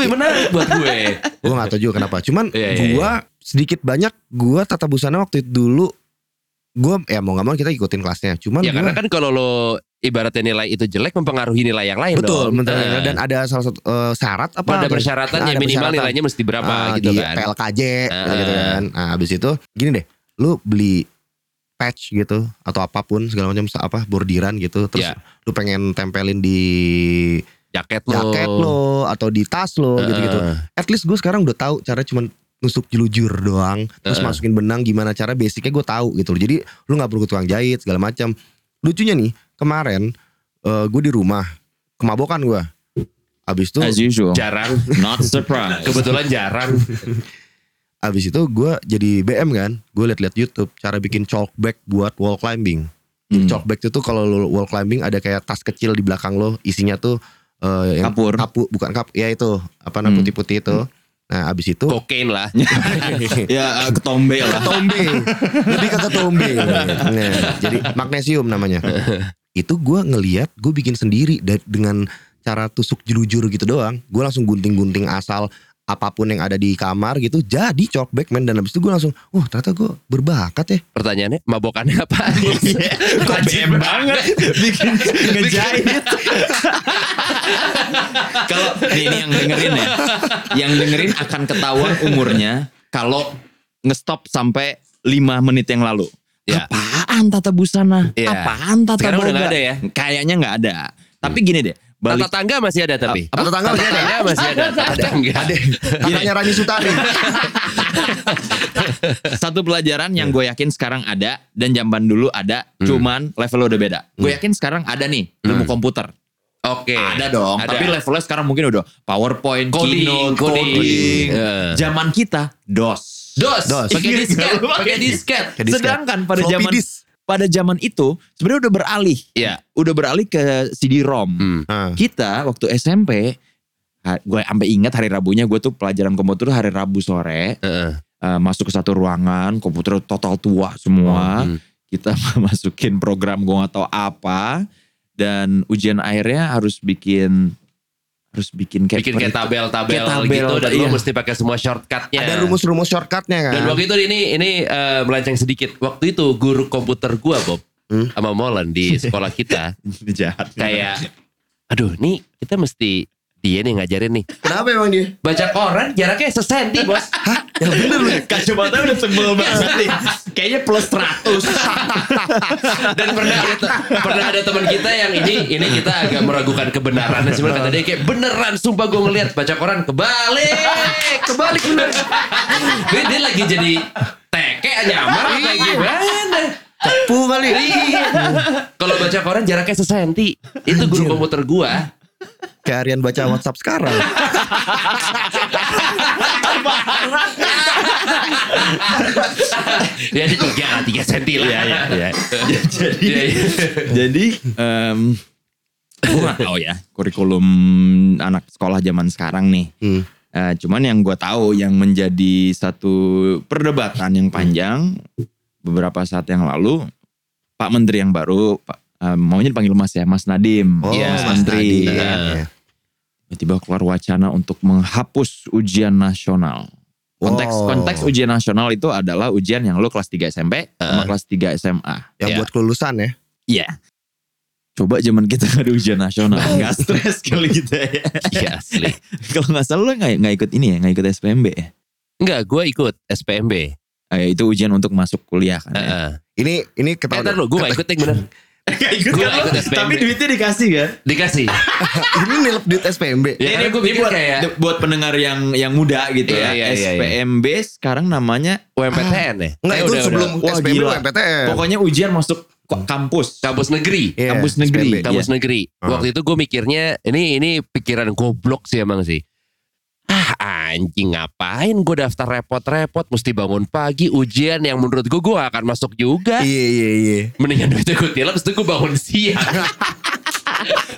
D: lebih menarik buat gue.
C: gue gak tau juga kenapa. Cuman
D: Iya, iya,
C: gue sedikit banyak gue tata busana waktu itu dulu gue ya mau gak mau kita ikutin kelasnya. Cuman
D: Ya
C: gua-
D: karena kan kalau lo ibaratnya nilai itu jelek mempengaruhi nilai yang lain
C: betul,
D: dong.
C: bentar,
D: Eh,
C: dan ada salah satu uh, syarat apa? Nah,
D: Ada
C: Ada
D: persyaratannya minimal ya,
C: persyaratan.
D: nilainya mesti berapa
C: Ah,
D: gitu
C: di
D: kan.
C: PLKJ
D: Ah.
C: gitu kan. Nah, habis itu gini deh, lu beli patch gitu atau apapun segala macam apa bordiran gitu terus
D: Iya.
C: lu pengen tempelin di
D: Jaket lo.
C: jaket lo atau di tas lo gitu-gitu. At least gue sekarang udah tahu cara cuman nusuk jelujur doang, terus
D: Ah.
C: masukin benang gimana cara basicnya gue tahu gitu loh. Jadi lu nggak perlu ke tukang jahit segala macam. Lucunya nih, kemarin gue di rumah kemabokan gue. Abis itu
E: ya.
D: Nah,
E: As usual.
D: Jarang.
E: Not surprised.
D: Kebetulan jarang.
C: Abis itu gue jadi BM kan, gue liat-liat YouTube cara bikin chalk bag buat wall climbing. Jadi
E: Hmm.
C: Chalk bag itu tuh kalau lu wall climbing ada kayak tas kecil di belakang lo, isinya tuh eh, yang
E: Kapur.
C: kapu, bukan kap, ya itu apa namanya
E: Hmm.
C: putih-putih itu. Nah abis itu
D: Kokain lah.
E: Ya eh, ketombe lah.
C: ketombe, lebih ke ketombe. Nah, jadi magnesium namanya. itu gue ngeliat gue bikin sendiri da- dengan cara tusuk jelujur gitu doang. Gue langsung gunting-gunting asal apapun yang ada di kamar gitu. Jadi chalk bag men dan abis itu gue langsung, wah ternyata gue berbakat ya.
D: Pertanyaannya mabokannya apa? Rajin banget.
E: bikin ngejahit. kalau nih, ini yang dengerin ya, yang dengerin akan ketahuan umurnya kalau ngestop sampai 5 menit yang lalu.
D: Ya.
E: Apaan tata busana?
D: Ya.
E: Apaan tata
D: Sekarang udah
E: boga?
D: nggak ada ya? Hmm.
E: Kayaknya nggak ada. Tapi gini deh,
D: Tata
E: balik
D: tangga masih ada tapi.
C: Apa tetangga masih ada?
D: Tangga masih ada. Tata tangga.
C: Katanya Rani Sutari.
E: satu pelajaran
D: Iya.
E: yang gue yakin sekarang ada dan jamban dulu ada,
D: Hmm.
E: cuman level udah beda. Gue yakin sekarang ada nih ilmu komputer.
D: Oke.
E: Ada dong, tapi levelnya sekarang mungkin udah PowerPoint,
D: Coding, Iya.
E: Keynote,
D: coding.
E: coding.
D: Iya.
E: Zaman kita DOS.
D: Dos,
C: Dos.
D: pakai
E: Iya,
D: disket,
E: lu pakai
D: pakai disket.
C: Kayak disket.
E: Sedangkan pada
C: Floppy
E: zaman
C: disk.
E: pada zaman itu sebenarnya udah beralih,
D: Iya.
E: udah beralih ke CD-ROM.
D: Hmm.
C: Ah.
E: Kita waktu SMP, gue sampai ingat hari Rabunya gue tuh pelajaran komputer hari Rabu sore
D: Heeh.
E: eh, masuk ke satu ruangan komputer total tua semua.
D: Hmm.
E: Kita masukin program gue gak tahu apa dan ujian akhirnya harus bikin harus bikin kayak
D: Bikin kayak tabel-tabel
E: Kayak tabel,
D: gitu dan lu
E: iya.
D: mesti pakai semua shortcutnya.
C: Ada rumus-rumus shortcutnya kan.
D: Iya. Dan waktu itu ini ini eh, melenceng sedikit. Waktu itu guru komputer gua Bob
C: Hmm.
D: sama Molan di sekolah kita
E: Ini jahat.
D: kayak aduh nih kita mesti dia nih ngajarin nih
C: Kenapa emang dia?
D: baca koran jaraknya sesenti bos
C: Ya bener loh. Iya.
E: Kacamata udah sebel banget nih. Kayaknya plus 100.
D: dan pernah ada te- pernah ada teman kita yang ini ini kita agak meragukan kebenaran dan sebenarnya kata dia kayak beneran sumpah gue ngelihat baca koran kebalik kebalik bener dia, dia lagi jadi teke nyamar apa gimana
C: Cepu Iya. kali.
D: Iya. kalau baca koran jaraknya sesenti itu guru komputer gua
C: Kayak harian baca WhatsApp sekarang.
D: ya dia tiga tiga senti lah
E: Iya, iya, iya. Jadi
D: Iya, iya.
E: jadi em gue gak tahu ya kurikulum anak sekolah zaman sekarang nih.
C: Hmm.
E: Eh, cuman yang gue tahu yang menjadi satu perdebatan yang panjang beberapa saat yang lalu Pak Menteri yang baru Pak eh, maunya dipanggil Mas ya Mas Nadim.
C: Oh,
D: Iya,
C: Mas Nadi.
E: Iya.
C: Iya.
E: tiba-tiba keluar wacana untuk menghapus ujian nasional. Konteks
C: Wow.
E: konteks ujian nasional itu adalah ujian yang lo kelas 3 SMP sama kelas 3 SMA.
C: Yang
D: Iya.
C: buat kelulusan ya.
E: Iya. Coba zaman kita gak ada ujian nasional, nggak stres kali kita ya.
D: Iya, asli
E: Kalau nggak salah lo nggak nggak ikut ini ya, nggak ikut SPMB ya.
D: enggak gua ikut SPMB
E: Eh, itu ujian untuk masuk kuliah kan. Ya.
D: Heeh.
C: Ini ini
D: Eh,
C: ketahuan.
D: ntar lo gue gak ikut yang bener
E: Nggak ikut
D: Gua nggak ikut SPMB.
E: duitnya dikasih kan.
D: dikasih
C: ini nilep duit SPMB.
D: Ya,
E: ini
D: karena gue
E: ini
D: pikir
E: buat,
D: kayak
E: buat pendengar yang yang muda gitu
D: Iya, iya,
E: ya.
D: iya, iya.
E: SPMB sekarang namanya
D: UMPTN ya?
C: Enggak
D: Eh,
C: itu
D: udah,
C: sebelum
D: udah.
E: Wah,
C: SPMB
E: gila.
C: MPTN.
E: pokoknya ujian masuk ko- kampus.
D: kampus negeri.
C: Iya,
E: kampus negeri.
C: SPMB.
D: Kampus negeri.
C: Ah.
D: Waktu itu gue mikirnya ini ini pikiran goblok sih emang sih. Ah anjing ngapain gue daftar repot-repot mesti bangun pagi ujian yang menurut gue gue akan masuk juga.
C: Iya iya iya.
D: Mendingan duitnya gue tilap terus gue bangun siang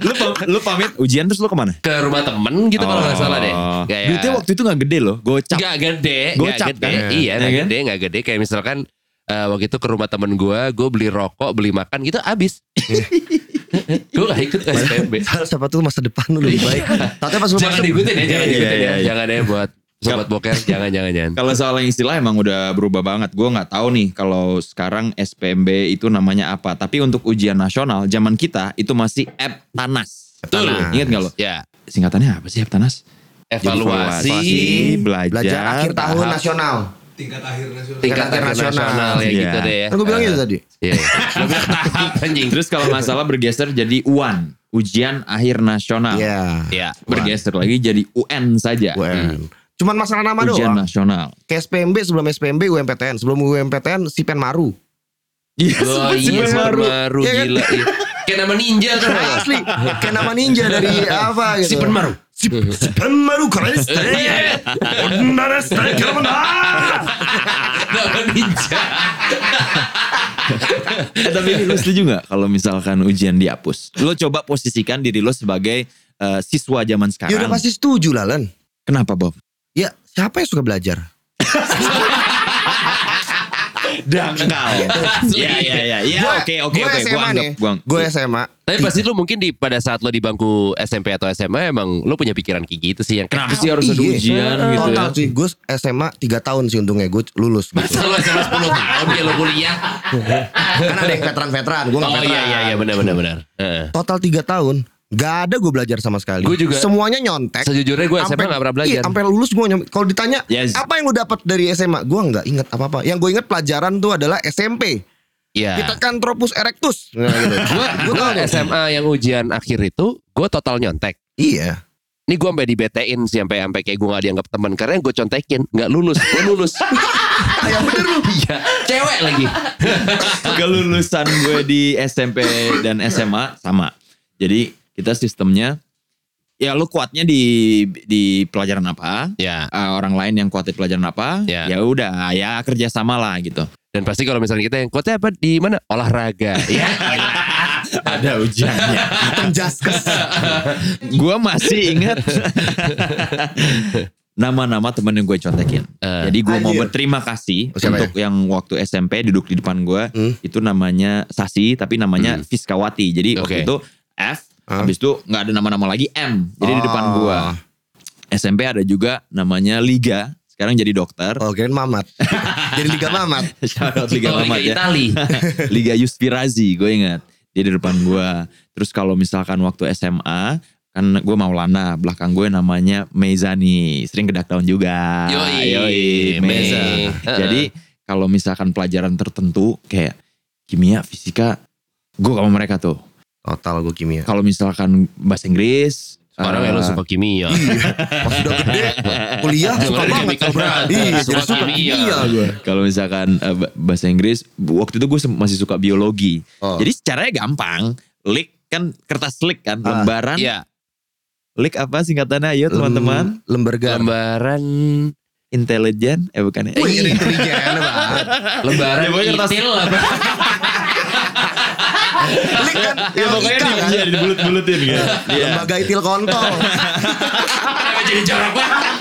E: lu pam- lu pamit ujian terus lu kemana? Oh.
D: ke rumah temen gitu kalau nggak salah deh. Iya, Kayak
E: Duitnya waktu itu nggak gede loh, gocap.
D: Gak gede, gak
E: Gocap
D: gede.
E: kan?
D: Iya,
E: Iya
D: gak
E: kan?
D: gede, gak gede. Kayak misalkan eh, waktu itu ke rumah temen gue, gue beli rokok, beli makan gitu, abis. gue gak ikut ke SPMB.
C: Siapa tuh masa depan lu lebih baik. Tapi pas lu
D: jangan
C: masuk
D: diikutin ya, jangan
E: Iya,
D: diikutin
E: iya,
D: ya.
E: iya.
D: Jangan ya buat sobat boker, jangan, jangan, jangan.
E: Kalau soal yang istilah emang udah berubah banget. Gue nggak tahu nih kalau sekarang SPMB itu namanya apa. Tapi untuk ujian nasional zaman kita itu masih Eptanas.
D: Betul.
E: Ingat nggak lo?
D: Ya,
E: Singkatannya apa sih Eptanas?
D: evaluasi,
E: belajar,
C: belajar akhir tahun
D: tahap.
C: nasional.
A: tingkat akhir
D: tingkat
A: nasional.
C: Tingkat
D: internasional ya
E: Iya.
D: gitu deh ya.
C: Kan gue bilang itu tadi.
D: Iya, iya. Lu bilang tahap anjing.
E: Terus kalau nggak salah bergeser jadi UAN, ujian akhir nasional.
C: Iya.
D: Ya,
E: Bergeser lagi jadi UN saja.
C: UN. Cuman masalah nama
E: Ujian
C: doang.
E: nasional.
C: Kayak SPMB sebelum SPMB UMPTN, sebelum UMPTN Sipen Maru.
D: Oh iya, super baru
C: Iya kan? Iya.
D: gila. iya. Kayak nama ninja kan.
C: Asli, kayak nama ninja dari apa gitu.
D: Sipen Maru.
C: Sip- Sipen Maru keren.
D: Iya.
C: Benar, striker benar.
D: Nama ninja.
E: Eh, tapi ini lu setuju nggak kalau misalkan ujian dihapus? Lo coba posisikan diri lo sebagai eh, siswa zaman
C: Ya udah
E: sekarang.
C: pasti setuju lah Len.
E: Kenapa Bob?
C: Ya siapa yang suka belajar?
E: Dangkal. Iya iya iya. Ya
C: Gua-
E: oke oke
C: gua
E: oke. Gue
C: SMA
E: anggap
C: nih.
E: gua-
C: Gue SMA.
D: Tapi pasti lu mungkin di pada saat lu di bangku SMP atau SMA emang lu punya pikiran kayak gitu sih yang
E: Kenapa sih harus ada
C: Iya.
E: ujian gitu?
C: Total
E: ya?
C: sih gue SMA 3 tahun sih untungnya gue lulus. Gitu.
D: Masa lu SMA 10 tahun ya lu kuliah?
C: kan ada yang veteran-veteran, gue gak
D: Oh
C: veteran.
D: iya iya iya benar benar benar. Heeh.
C: Total 3 tahun Gak ada gue belajar sama sekali
D: Gua juga.
C: Semuanya nyontek
D: Sejujurnya gue SMA
C: Eh, Sampai-
D: gak pernah belajar.
C: Iya sampai lulus gue nyontek Kalau ditanya
E: Yes.
C: Apa yang lu dapat dari SMA Gue gak inget apa-apa Yang gue inget pelajaran tuh adalah SMP
D: Iya.
C: Kita kan tropus erectus nah, gitu.
D: Gue
C: Gua tahu.
D: SMA yang ujian akhir itu gue total nyontek.
C: Iya
D: Ini gue sampai dibetein sih sampai sampai kayak gue gak dianggap teman karena gue contekin nggak lulus, gue lulus.
C: Ya bener lu
D: Iya, cewek lagi.
E: Kelulusan gue di SMP dan SMA sama. Jadi kita sistemnya ya lu kuatnya di di pelajaran apa?
D: Ya.
E: Eh, orang lain yang kuat di pelajaran apa?
D: Ya.
E: Ya udah, ya kerjasama lah gitu.
D: Dan pasti kalau misalnya kita yang kuatnya apa di mana? Olahraga. ya.
E: Ada ujiannya.
C: Jaskes.
E: gue masih inget nama-nama temen yang gue contekin.
D: Eh.
E: Jadi gue mau
C: Anjir.
E: berterima kasih
C: Siapa ya?
E: untuk yang waktu SMP duduk di depan gue
C: Hmm.
E: itu namanya Sasi tapi namanya Fiskawati. Jadi waktu
D: Oke.
E: itu F,
C: Hah?
E: habis itu nggak ada nama-nama lagi M. Jadi di depan
C: Oh.
E: gue SMP ada juga namanya Liga. Sekarang jadi dokter.
C: Oh kirain mamat. Jadi liga mamat.
E: Oh, Shout out Liga
D: Kalau
E: Mamat
D: Liga
E: ya.
D: Itali.
E: Liga Yuspirazi gue ingat dia di depan gue terus kalau misalkan waktu SMA kan gue Maulana belakang gue namanya Mezani sering kedak tahun juga
D: Yoi,
E: Meza
D: Mei.
E: jadi kalau misalkan pelajaran tertentu kayak kimia fisika gue sama mereka tuh
C: Total gue kimia.
E: kalau misalkan bahasa Inggris
D: Sekarang ya
E: eh,
D: lo
C: Ah.
D: suka
C: Iya
D: kimia.
C: Pas udah gede kuliah suka
D: Dengerin
C: banget.
D: chemical
C: sama-
D: brothers,
C: Iya
D: suka
C: jadi suka
D: kimia.
C: kimia gue.
E: kalau misalkan eh, ba- bahasa Inggris waktu itu gue sem- masih suka biologi
C: Oh.
E: jadi caranya gampang lick kan kertas lick kan
C: Ah.
E: lembaran
D: Iya.
E: Lik apa singkatannya? Ayo ya,
C: Lem-
E: teman-teman.
C: Lemberga.
D: Lembaran
E: Intelijen. Eh bukan ya.
C: Hmm. Wih, intelijen banget.
D: lembaran
E: Ya, pokoknya kertas-
D: itil apa?
C: Lik kan, yang Ika kan?
E: Ya, dibulut-bulutin gitu.
C: Lembaga itil kontol.
D: Kenapa jadi jorok banget?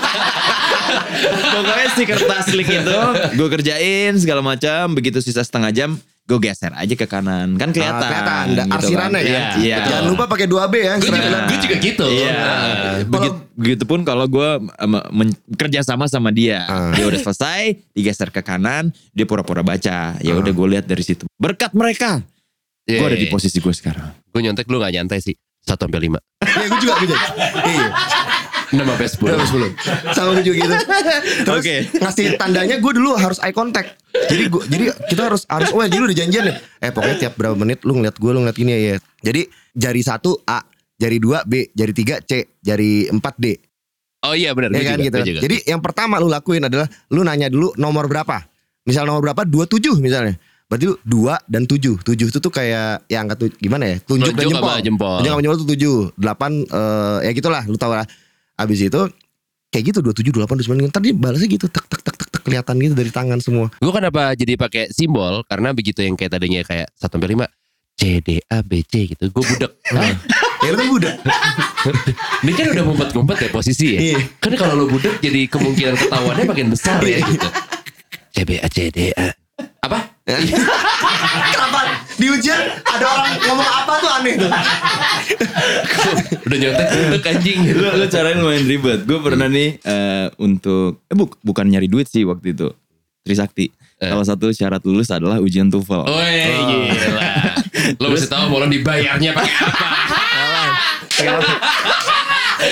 E: Iya, Pokoknya si kertas lik itu gue kerjain segala macam. Begitu sisa setengah jam gue geser aja ke kanan. Kan kelihatan.
C: Ah, kelihatan. Da-
E: gitu
C: arsirannya
E: kan.
C: ya.
E: Iya.
C: Jangan lupa pakai 2B ya. yang
D: Gue juga,
C: seragam.
D: gua juga gitu.
E: Iya. Begitu, begitupun kalau gue kerja sama sama dia,
C: Ah.
E: dia udah selesai, digeser ke kanan, dia pura-pura baca. Ya
C: Ah.
E: udah gue lihat dari situ. Berkat mereka,
D: Iya,
E: gue ada di posisi gue sekarang.
D: Gue nyontek lu gak nyantai sih. 1 sampai 5.
C: Iya, gue juga gitu. Iya.
D: 6 sampai 10.
C: Udah sebelum. Sama gue juga gitu. Terus
E: Oke.
C: ngasih tandanya gue dulu harus eye contact. Jadi gua, jadi kita harus harus oh ya, jadi udah janjian ya. Eh pokoknya tiap berapa menit lu ngeliat gue lu ngeliat ini ya. ya. Jadi jari satu A, jari dua B, jari tiga C, jari empat D.
D: Oh iya benar.
C: ya
D: Gue
C: kan
D: juga,
C: gitu.
D: gue juga.
C: Jadi yang pertama lu lakuin adalah lu nanya dulu nomor berapa. Misal nomor berapa? 27 misalnya. Berarti lu 2 dan 7. 7 itu tuh kayak ya angkat tu- gimana ya? Tunjuk, dan
D: Tunjuk
C: jempol.
D: sama jempol.
C: Tunjuk sama jempol itu 7. 8 eh, ya gitulah lu tahu lah. Habis itu kayak gitu 27 28 29 tadi balasnya gitu tek tek tek tek, tek kelihatan gitu dari tangan semua.
D: Gue kenapa kan jadi pakai simbol karena begitu yang kayak tadinya kayak 1 sampai 5 C D A B C gitu. Gue budek. Hah?
C: Ya itu udah.
D: Ini kan udah ngumpet-ngumpet ya posisi ya.
C: Iya.
D: Kan kalau lo budek jadi kemungkinan ketahuannya makin besar ya gitu. C B A C D A. Apa?
C: Kenapa di ujian ada orang ngomong apa tuh aneh tuh.
D: udah nyontek budek anjing.
E: lu, lu caranya lumayan ribet. Gue pernah
D: Iya.
E: nih eh, untuk eh bu- bukan nyari duit sih waktu itu. Trisakti.
D: Eh.
E: Salah satu syarat lulus adalah ujian TOEFL.
D: Woi gila. Lo mesti tahu mau lo dibayarnya pakai apa.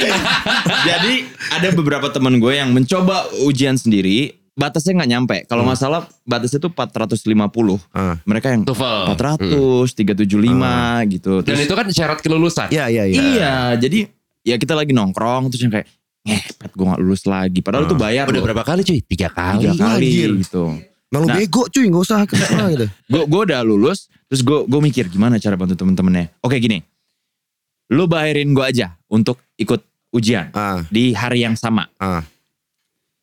E: Jadi ada beberapa teman gue yang mencoba ujian sendiri, batasnya nggak nyampe. Kalau
D: Hmm.
E: masalah batasnya tuh 450.
C: Ah.
E: Mereka yang
D: TOEFL.
E: 400, 375 gitu.
D: Dan
E: Terus-
D: itu kan syarat kelulusan.
C: Iya iya iya.
E: iya, jadi ya kita lagi nongkrong terus yang kayak ngepet gue gak lulus lagi. Padahal tuh bayar
D: Ah. Udah
E: loh.
D: berapa kali cuy? Tiga
E: tiga
D: kali.
C: Iya,
E: kali
C: anjir.
E: gitu.
C: Emang lu
E: Nah.
C: bego cuy, enggak usah kenapa gitu.
E: gue gue udah lulus terus gue gue mikir gimana cara bantu temen-temennya oke gini lu bayarin gue aja untuk ikut ujian
C: Ah,
E: di hari yang sama
C: ah,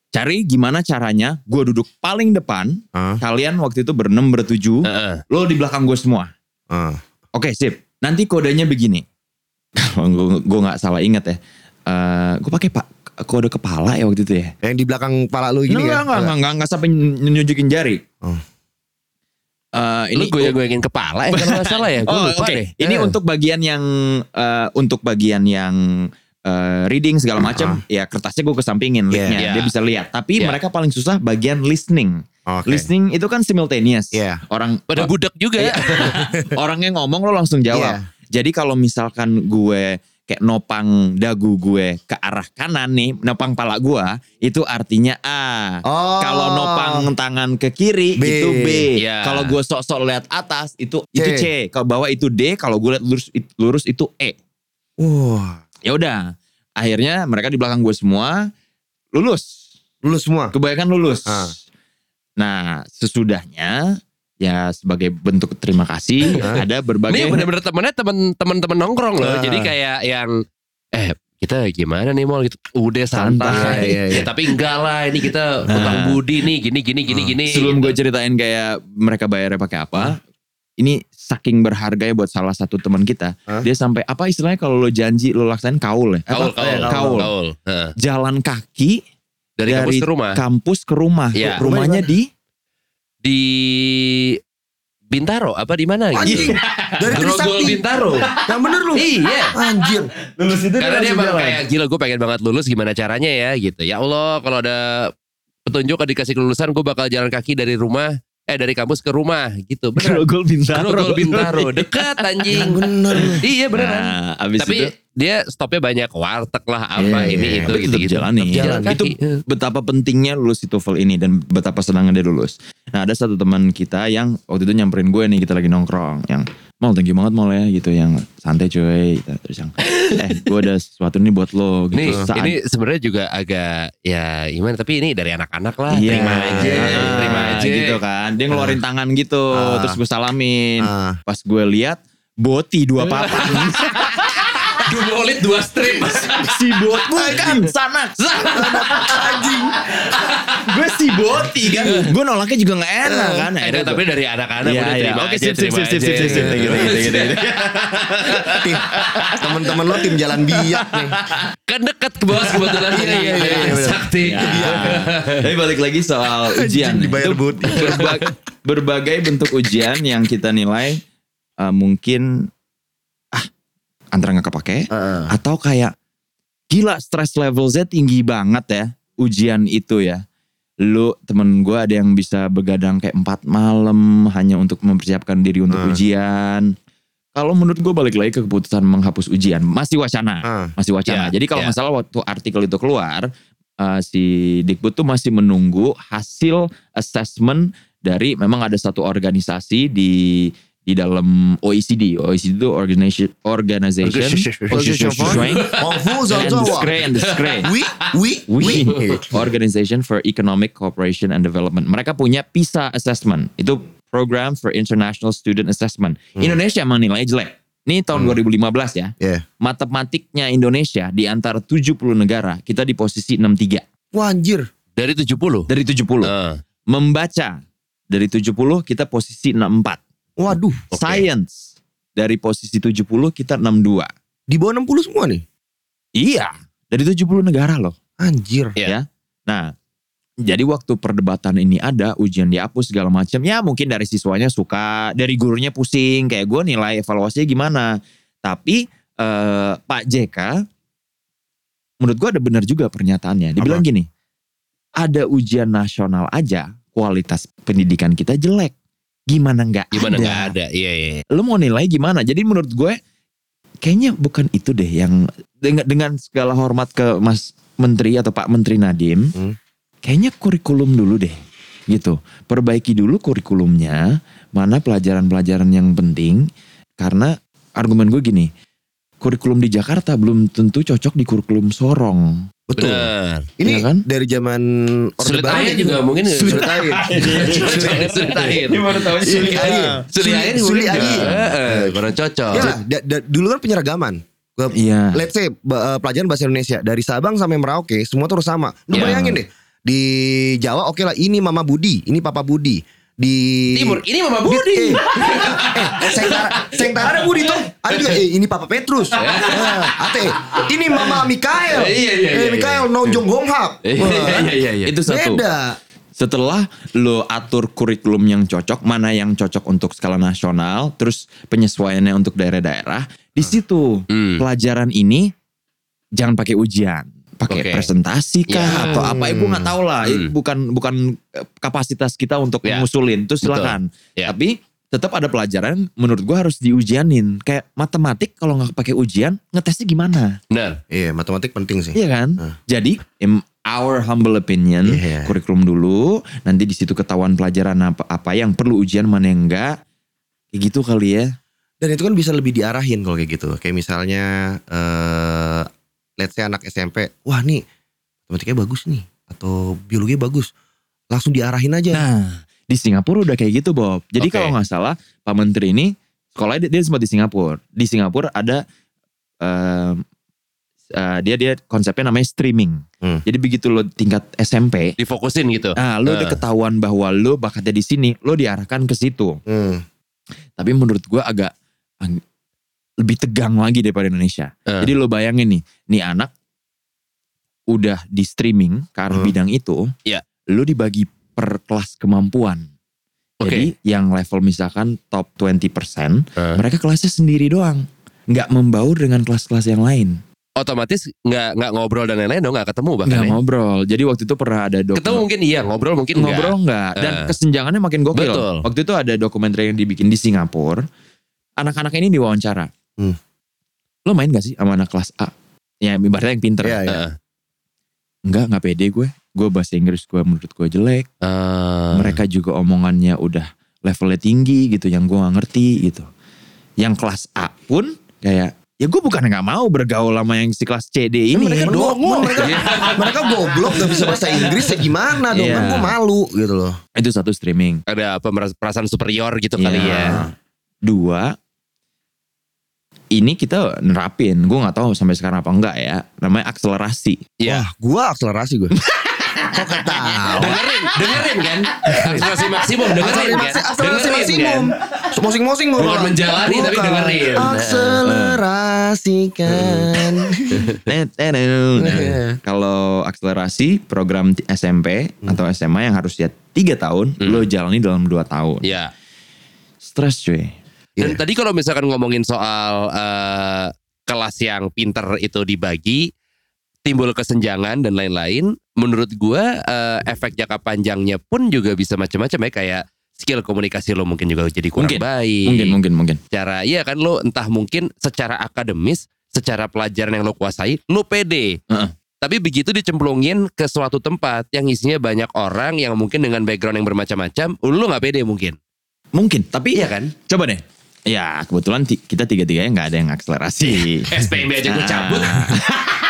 E: cari gimana caranya gue duduk paling depan
C: ah,
E: kalian waktu itu berenam bertujuh
D: Heeh.
E: lo di belakang gue semua
C: ah.
E: oke sip nanti kodenya begini kalau gue nggak salah ingat ya gue pakai pak kode kepala ya waktu itu ya
C: Yang di belakang kepala lu gini
E: Enggak,
C: ya.
E: enggak, enggak, enggak, enggak sampai nyunjukin jari.
C: Oh.
E: Eh,
D: Ini gue goyangin kepala ya kalau nggak salah ya. Gue
E: Oh, oke.
D: lupa deh.
E: Ini
D: Eh.
E: untuk bagian yang eh, untuk bagian yang eh, reading segala macam, ya kertasnya gue kesampingin
C: Yeah.
E: linknya, dia
D: Yeah.
E: bisa lihat. Tapi
D: Yeah.
E: mereka paling susah bagian listening.
C: Oke.
E: Listening itu kan simultaneous.
C: Yeah.
E: Orang
D: Pada budek juga ya.
E: orangnya ngomong lo langsung jawab. Jadi kalau misalkan gue kayak nopang dagu gue ke arah kanan nih, nopang pala gue itu artinya A.
C: Oh.
E: Kalau nopang tangan ke kiri
C: B.
E: itu B.
D: Iya.
E: Kalau gue sok-sok lihat atas itu
C: C.
E: itu C. Kalau bawah itu D. Kalau gue lihat lurus lurus itu E.
C: Wah,
E: Ya udah. Akhirnya mereka di belakang gue semua lulus.
C: lulus semua.
E: Kebanyakan lulus.
C: Ah.
E: Nah sesudahnya ya sebagai bentuk terima kasih
D: Ini
E: ada berbagai
D: Nah. bener-bener temennya temen-temen temen nongkrong loh.
C: Ah.
D: Jadi kayak yang eh kita gimana nih mal gitu udah
E: Santai,
D: santai
C: iya, iya.
D: ya tapi enggak lah ini kita
E: Nah.
D: utang budi nih gini gini gini gini Gitu.
E: Sebelum gue ceritain kayak mereka bayarnya pakai apa, ini saking berharganya buat salah satu teman kita.
C: Hah?
E: Dia sampai apa istilahnya kalau lo janji lo laksain kaul ya?
D: kaul
E: Apa?
D: kaul
E: Eh,
D: kaul, kaul. Heeh.
E: Jalan kaki
D: dari,
E: Dari
D: kampus ke rumah
E: kampus ke rumah.
D: Iya.
E: Rumahnya di
D: di Bintaro apa di mana
C: Anjing.
D: gitu
C: Dari
D: Grogol
C: Trisakti.
D: Bintaro
C: Yang bener lu.
D: iya
C: Anjir.
E: lulus itu
D: Karena dia emang kayak gila gue pengen banget lulus gimana caranya ya gitu. Ya Allah kalau ada petunjuk ada dikasih kelulusan gue bakal jalan kaki dari rumah eh dari kampus ke rumah gitu. Bener.
E: Grogol Bintaro.
D: Grogol Bintaro dekat anjing.
C: Bener.
D: iya beneran.
E: Nah, abis
D: Tapi
E: itu
D: dia stopnya banyak warteg lah apa
E: Iya,
D: ini
E: iya,
D: itu
E: tapi
D: gitu
E: tetap
D: gitu.
E: jalani.
D: Jalan
E: Itu
D: kaki. eh.
E: betapa pentingnya lulus si TOEFL ini dan betapa senangnya dia lulus. Nah ada satu teman kita yang waktu itu nyamperin gue nih kita lagi nongkrong yang mal thank you banget mal ya gitu yang santai cuy gitu, terus yang eh gue ada sesuatu nih buat lo
D: Nih,
E: gitu Saat-
D: ini sebenarnya juga agak ya gimana tapi ini dari anak-anak lah.
E: Iya,
D: Terima aja,
E: ah,
D: terima aja.
E: gitu kan dia ngeluarin tangan gitu
C: Ah.
E: terus gue salamin
C: Ah.
E: pas gue lihat boti dua papan
D: Dua molit dua strip.
E: si bot bukan sanak anjing gue si boti kan gue nolaknya juga nggak enak kan
D: Eh,
E: Akhirnya
D: tapi dari anak-anak
E: Iya,
D: udah
E: iya.
D: terima
E: Oke,
D: aja,
E: sip, sip,
D: terima
E: sip, sip,
D: aja.
E: sip, sip, sip, gitu, gitu, gitu, gitu.
C: Tim- Temen-temen lo tim jalan biak nih.
D: kan dekat ke bawah kebetulan
C: Iya, iya, iya, iya, benar.
D: sakti
E: Ya. Tapi balik lagi soal ujian.
C: dibayar
E: Itu
C: buti.
E: berba- berbagai bentuk ujian yang kita nilai eh, mungkin ah antara nggak kepake
C: Heeh.
E: atau kayak gila stress levelnya tinggi banget ya ujian itu ya. Lu temen gue ada yang bisa begadang kayak 4 malam hanya untuk mempersiapkan diri untuk
C: Hmm.
E: ujian. Kalau menurut gue balik lagi ke keputusan menghapus ujian masih wacana
C: Ah.
E: masih wacana.
D: Ya,
E: Jadi kalau
D: ya.
E: masalah waktu artikel itu keluar, eh, si Dikbud tuh masih menunggu hasil assessment dari memang ada satu organisasi di di dalam E OECD. OECD itu organization organization
C: Organization for- Kungfu
E: and
C: Zonzowa.
E: Discre- and Discre.
C: Wi, wi, wi.
E: We, Organization for Economic Cooperation and Development. Mereka punya PISA Assessment. Itu Program for International Student Assessment. Indonesia emang nilainya jelek. Ini tahun 2015 ya.
C: Iya.
E: Matematiknya Indonesia di antara 70 negara, kita di posisi 63
C: Wah anjir.
D: dari 70
E: dari 70.
D: Heeh.
E: Membaca dari 70 kita posisi 64.
C: Waduh.
D: Oke.
E: Science dari posisi 70 kita 62.
C: Di bawah 60 semua nih.
E: Iya, dari 70 negara loh.
C: Anjir.
E: Nah, jadi waktu perdebatan ini ada ujian dihapus segala macam. Ya mungkin dari siswanya suka, dari gurunya pusing. Kayak gue nilai evaluasinya gimana. Tapi eh, Pak JK, menurut gue ada benar juga pernyataannya. Dia
C: Apa?
E: bilang gini, ada ujian nasional aja kualitas pendidikan kita jelek. Gimana nggak
D: gimana
E: ada?
D: nggak ada iya iya
E: Lu mau nilai gimana? Jadi menurut gue kayaknya bukan itu deh yang dengan, dengan segala hormat ke Mas Menteri atau Pak Menteri Nadiem,
C: Hmm.
E: kayaknya kurikulum dulu deh. Gitu. Perbaiki dulu kurikulumnya, mana pelajaran-pelajaran yang penting karena argumen gue gini, kurikulum di Jakarta belum tentu cocok di kurikulum Sorong.
C: Betul.
D: benar
C: Ini
E: Iya kan?
C: dari zaman Orde
D: sulit
C: Baru
D: aja
C: nih.
D: juga mungkin ya.
C: Sulit air.
D: sulit air Iya,
C: Sulit air.
D: sulit air
C: Sulit air.
D: Eh, kurang cocok
C: Ya lah, da- da- dulu kan penyeragaman.
E: Iya.
C: Let's say ba- eh, pelajaran bahasa Indonesia dari Sabang sampai Merauke semua terus sama. Lu
D: Ya.
C: bayangin deh di Jawa oke lah ini Mama Budi, ini Papa Budi. Di
D: timur ini mama
C: Eh,
D: budi
C: eh, Sengtara, Sengtara ada Budi tuh. Ada juga, eh, ini Papa Petrus. Nah, ate, ini Mama Mikael.
D: Ya. Eh, iya, iya,
C: Eh,
D: iya,
C: Mikael Nonjong Honghap.
D: iya iya iya iya
E: Itu satu.
C: Beda.
E: setelah lo atur kurikulum yang cocok, mana yang cocok untuk skala nasional, terus penyesuaiannya untuk daerah-daerah, di situ
D: Hmm.
E: pelajaran ini jangan pakai ujian, pakai
D: Oke.
E: presentasi kah
D: Ya.
E: atau apa? Ibu nggak tahu lah,
D: Hmm.
E: bukan bukan eh, kapasitas kita untuk
D: Ya.
E: ngusulin, itu
D: Betul.
E: silakan.
D: Ya.
E: Tapi tetap ada pelajaran, menurut gua harus diujianin. Kayak matematik kalau nggak pakai ujian, ngetesnya gimana?
D: benar
C: Iya, matematik penting sih.
E: Iya kan?
C: Hah.
E: Jadi in our humble opinion,
C: Iya.
E: kurikulum dulu, nanti di situ ketahuan pelajaran apa apa yang perlu ujian mana yang enggak. Kayak gitu kali ya.
C: Dan itu kan bisa lebih diarahin kalau kayak gitu. Kayak misalnya eh let's say anak SMP, wah nih matematiknya bagus nih atau biologinya bagus. Langsung diarahin aja.
E: Nah, di Singapura udah kayak gitu, Bob.
D: Iya.
E: Jadi
D: Oke.
E: kalau nggak salah, Pak Menteri ini sekolahnya dia, dia sempat di Singapura. Di Singapura ada eh, eh, dia dia konsepnya namanya streaming.
C: Hmm.
E: Jadi begitu lo tingkat SMP,
D: difokusin gitu.
E: ah lo udah
D: Eh.
E: ketahuan bahwa lo bakatnya di sini, lo diarahkan ke situ.
C: Hmm.
E: Tapi menurut gua agak ang- lebih tegang lagi daripada Indonesia.
D: Eh.
E: Jadi lo bayangin nih, nih anak udah di streaming ke arah
C: Hmm.
E: bidang itu,
D: Iya.
E: lo dibagi per kelas kemampuan.
D: Oke.
E: Jadi yang level misalkan top 20%,
D: Eh.
E: mereka kelasnya sendiri doang. Nggak membaur dengan kelas-kelas yang lain.
D: Otomatis nggak nggak ngobrol dan lain-lain dong nggak ketemu bahkan.
E: Nggak
D: ya.
E: ngobrol. Jadi waktu itu pernah ada dok-
D: Ketemu mungkin iya, ngobrol mungkin nggak.
E: ngobrol nggak. Dan
D: Eh.
E: kesenjangannya makin gokil.
D: Betul.
E: Waktu itu ada dokumenter yang dibikin di Singapura. Anak-anak ini diwawancara.
C: Hmm.
E: Lo main gak sih sama anak kelas A? Ya ibaratnya yang pinter.
C: Iya, iya.
D: Heeh.
E: Enggak, nggak pede gue. Gue bahasa Inggris gue menurut gue jelek.
D: Eh,
E: Mereka juga omongannya udah levelnya tinggi gitu. Yang gue gak ngerti gitu. Yang kelas A pun kayak... Ya gue bukan nggak mau bergaul sama yang si kelas CD
D: Ya,
E: ini.
C: mereka
E: Gua-
C: dongeng, mereka, mereka goblok gak bisa bahasa Inggris ya gimana dong
E: Iya.
C: kan gue malu gitu loh.
E: Itu satu streaming.
D: ada apa merasa- perasaan superior gitu kali
E: Iya.
D: ya.
E: Dua, ini kita nerapin. Gue nggak tahu sampai sekarang apa enggak ya. Namanya akselerasi.
D: Iya.
C: Wah, gue akselerasi gue. Kok ketawa?
D: Dengerin, dengerin kan? Akselerasi maksimum, dengerin kan?
C: Akselerasi
D: Dengerin
C: maksimum.
D: kan?
C: Mosing-mosing gue.
D: Bukan menjalani, tapi dengerin. Nah.
C: Akselerasikan. Nah,
E: Kalau akselerasi program t- SMP atau SMA yang harusnya tiga tahun,
D: Hmm.
E: lo jalani dalam dua tahun.
D: Iya.
E: Stres cuy.
D: Dan
C: Iya.
D: tadi kalau misalkan ngomongin soal eh, kelas yang pinter itu dibagi, timbul kesenjangan dan lain-lain. Menurut gua eh, efek jangka panjangnya pun juga bisa macam-macam ya kayak skill komunikasi lo mungkin juga jadi kurang
E: Mungkin.
D: baik.
E: Mungkin, mungkin, mungkin.
D: Cara iya kan lo entah mungkin secara akademis, secara pelajaran yang lo kuasai, lo pede.
E: Heeh.
D: Tapi begitu dicemplungin ke suatu tempat yang isinya banyak orang yang mungkin dengan background yang bermacam-macam, lo nggak pede mungkin.
E: Mungkin, tapi
D: Iya kan?
E: coba deh. Ya kebetulan ti- kita tiga-tiganya nggak ada yang akselerasi.
C: Iya.
D: SPMB aja gue cabut.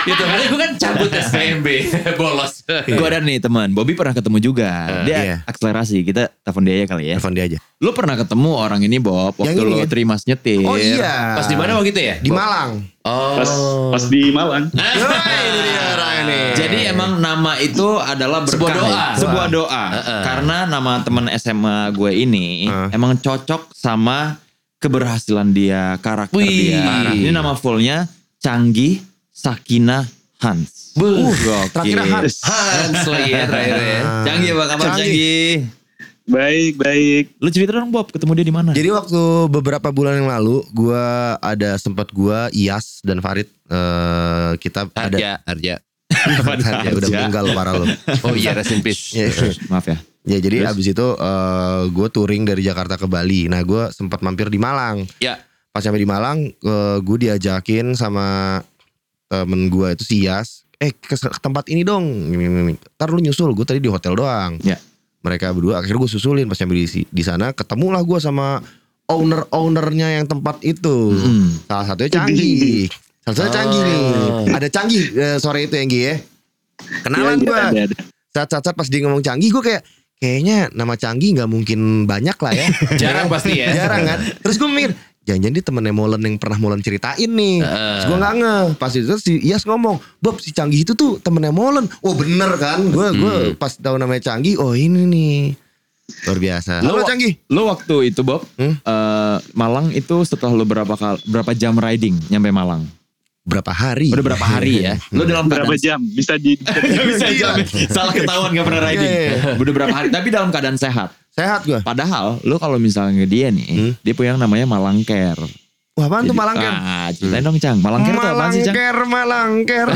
D: gitu kan gue kan cabut SPMB bolos.
E: Gue ada nih teman, Bobby pernah ketemu juga. dia
C: iya.
E: akselerasi, kita telepon dia aja kali ya.
C: Telepon dia aja.
E: Lu pernah ketemu orang ini Bob waktu
C: Yang ini
E: lu
C: kan?
E: terima nyetir.
C: Oh iya.
D: Pas di mana waktu itu ya?
C: Di Malang.
D: Oh.
A: Pas, pas ya? di Malang.
D: Ah.
C: Yoi, ini dia orang ini.
E: Jadi emang nama itu adalah berkah.
D: Sebuah doa.
E: ya? Sebuah doa.
C: Eh,
D: Heeh.
E: Karena nama teman SMA gue ini
C: Heeh.
E: emang cocok sama keberhasilan dia, karakter
D: Wih.
E: dia. Ini nama fullnya Canggih Sakina Hans. Uh, gokil.
C: Terakhirnya Hans.
D: Hans lagi ya terakhir ya.
E: Canggih apa kabar
C: Canggih.
E: Canggih.
A: Baik, baik.
E: Lu cerita dong Bob, ketemu dia di mana?
C: Jadi waktu beberapa bulan yang lalu, gua ada sempat gua Ias dan Farid eh, kita ada
D: Harja, Harja.
C: ya, udah meninggal lo, parah lo.
D: Oh iya, rest in peace.
C: Ya,
E: Maaf ya.
C: ya, jadi
E: Terus?
C: abis itu gue touring dari Jakarta ke Bali. Nah gue sempat mampir di Malang.
D: Ya.
C: Pas sampai di Malang, gue diajakin sama temen gue itu si Yas. Eh ke, ke tempat ini dong. Gini, gini, gini. Ntar lu nyusul. Gue tadi di hotel doang.
E: Ya.
C: Mereka berdua akhirnya gue susulin pas sampai di, si- di sana. Ketemulah gue sama owner-ownernya yang tempat itu.
E: Mm.
C: Salah satunya canggih. Salah satunya canggih nih. Ada canggih eh, sore itu yang Gi, ya. Kenalan
A: Iya,
C: gue.
A: ada, ada.
C: Saat-saat pas dia ngomong canggih gue kayak kayaknya nama canggih nggak mungkin banyak lah ya.
D: Jarang pasti ya.
C: Jarang kan. Terus gue mikir jangan-jangan dia temennya Molen yang pernah Molen ceritain nih. Terus gue nggak nge. Pas itu si Yas ngomong, Bob si canggih itu tuh temennya Molen. Oh bener kan. Gue gue pas tahu namanya canggih. Oh ini nih. Luar biasa.
E: Lo-
C: Halo canggih.
E: Lo waktu itu Bob,
C: Hmm?
E: eh, Malang itu setelah lo berapa kal berapa jam riding nyampe Malang?
C: Berapa hari?
E: Udah berapa hari ya? Lo dalam
A: Berapa
E: keadaan
A: jam? Bisa di
E: bisa jam. Salah ketahuan gak pernah riding.
C: Iya, iya.
E: Udah berapa hari? Tapi dalam keadaan sehat.
C: Sehat gue.
E: Padahal lo kalau misalnya dia nih,
C: Hmm?
E: dia punya yang namanya Malang Care.
C: Wah apaan tuh
E: Jadi-
C: Malang Ken?
E: Ah, ceritain dong Cang. Malang Care itu apaan sih Cang?
C: Malangker, malangker.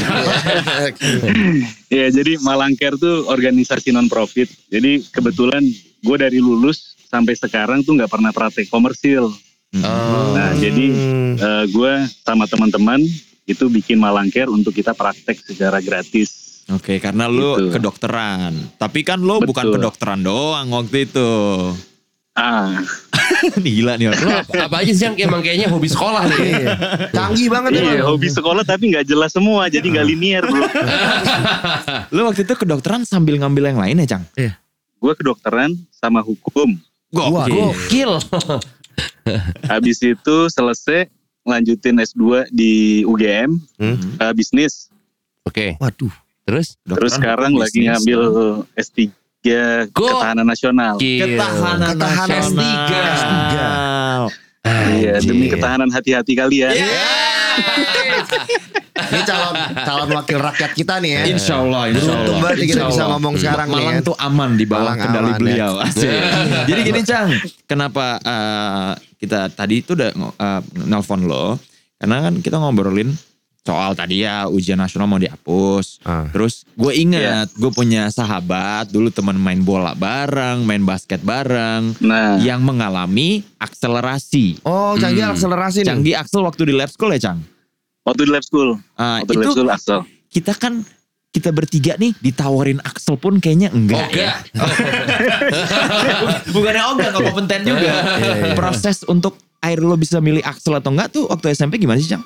A: Ya, jadi Malangker tuh organisasi non profit. Jadi kebetulan gue dari lulus sampai sekarang tuh nggak pernah praktek komersil.
E: Hmm.
D: Oh.
A: Nah, jadi eh, gue sama teman-teman itu bikin Malangker untuk kita praktek secara gratis.
E: Oke, karena lo
A: Gitu.
E: kedokteran. Tapi kan lo bukan
A: Betul.
E: kedokteran doang waktu itu.
A: Ah,
E: Gila nih orang.
D: Lo apa, apa aja sih yang emang kayaknya hobi sekolah nih?
C: canggih banget ya.
A: iya, hobi sekolah tapi nggak jelas semua, jadi nggak linear bro.
E: Lo waktu itu kedokteran sambil ngambil yang lain ya Cang?
A: gue kedokteran sama hukum.
E: Gokil.
C: Wah,
D: Gokil.
A: Habis itu selesai lanjutin S2 di UGM
C: Hmm.
A: eh, bisnis.
D: Oke.
C: Waduh.
D: Terus?
A: Terus sekarang lagi ngambil S3
D: Go.
A: ketahanan nasional.
D: Gil.
E: ketahanan
C: Ketahanan
E: nasional.
C: S3.
A: Iya,
D: Anjir.
A: demi ketahanan hati-hati kalian.
C: Ini calon calon wakil rakyat kita nih ya.
E: Insya Allah, insya Allah.
C: Beruntung banget
E: Insya
C: kita bisa
E: Allah.
C: ngomong sekarang nih
E: Malang
C: ya.
E: tuh aman di bawah
C: Malang
E: kendali
C: aman, ya.
E: beliau. Asik. Jadi gini Cang, kenapa eh, kita tadi itu udah ngo- eh, nelpon lo? Karena kan kita ngobrolin soal tadi ya ujian nasional mau dihapus.
C: Ah.
E: Terus gue ingat gue punya sahabat dulu teman main bola bareng, main basket bareng,
A: Nah,
E: yang mengalami akselerasi.
C: Oh, canggih
D: Hmm.
C: akselerasi nih.
E: Canggih Axel waktu di lab school ya Cang?
A: waktu di lab school,
E: Ah,
A: waktu di lab
E: itu
A: school Axel.
E: kita kan kita bertiga nih ditawarin Axel pun kayaknya enggak ya.
D: Oga.
E: Bukannya ogah nggak kompeten juga.
C: iya.
E: Proses untuk air lo bisa milih Axel atau enggak tuh waktu SMP gimana sih Cang?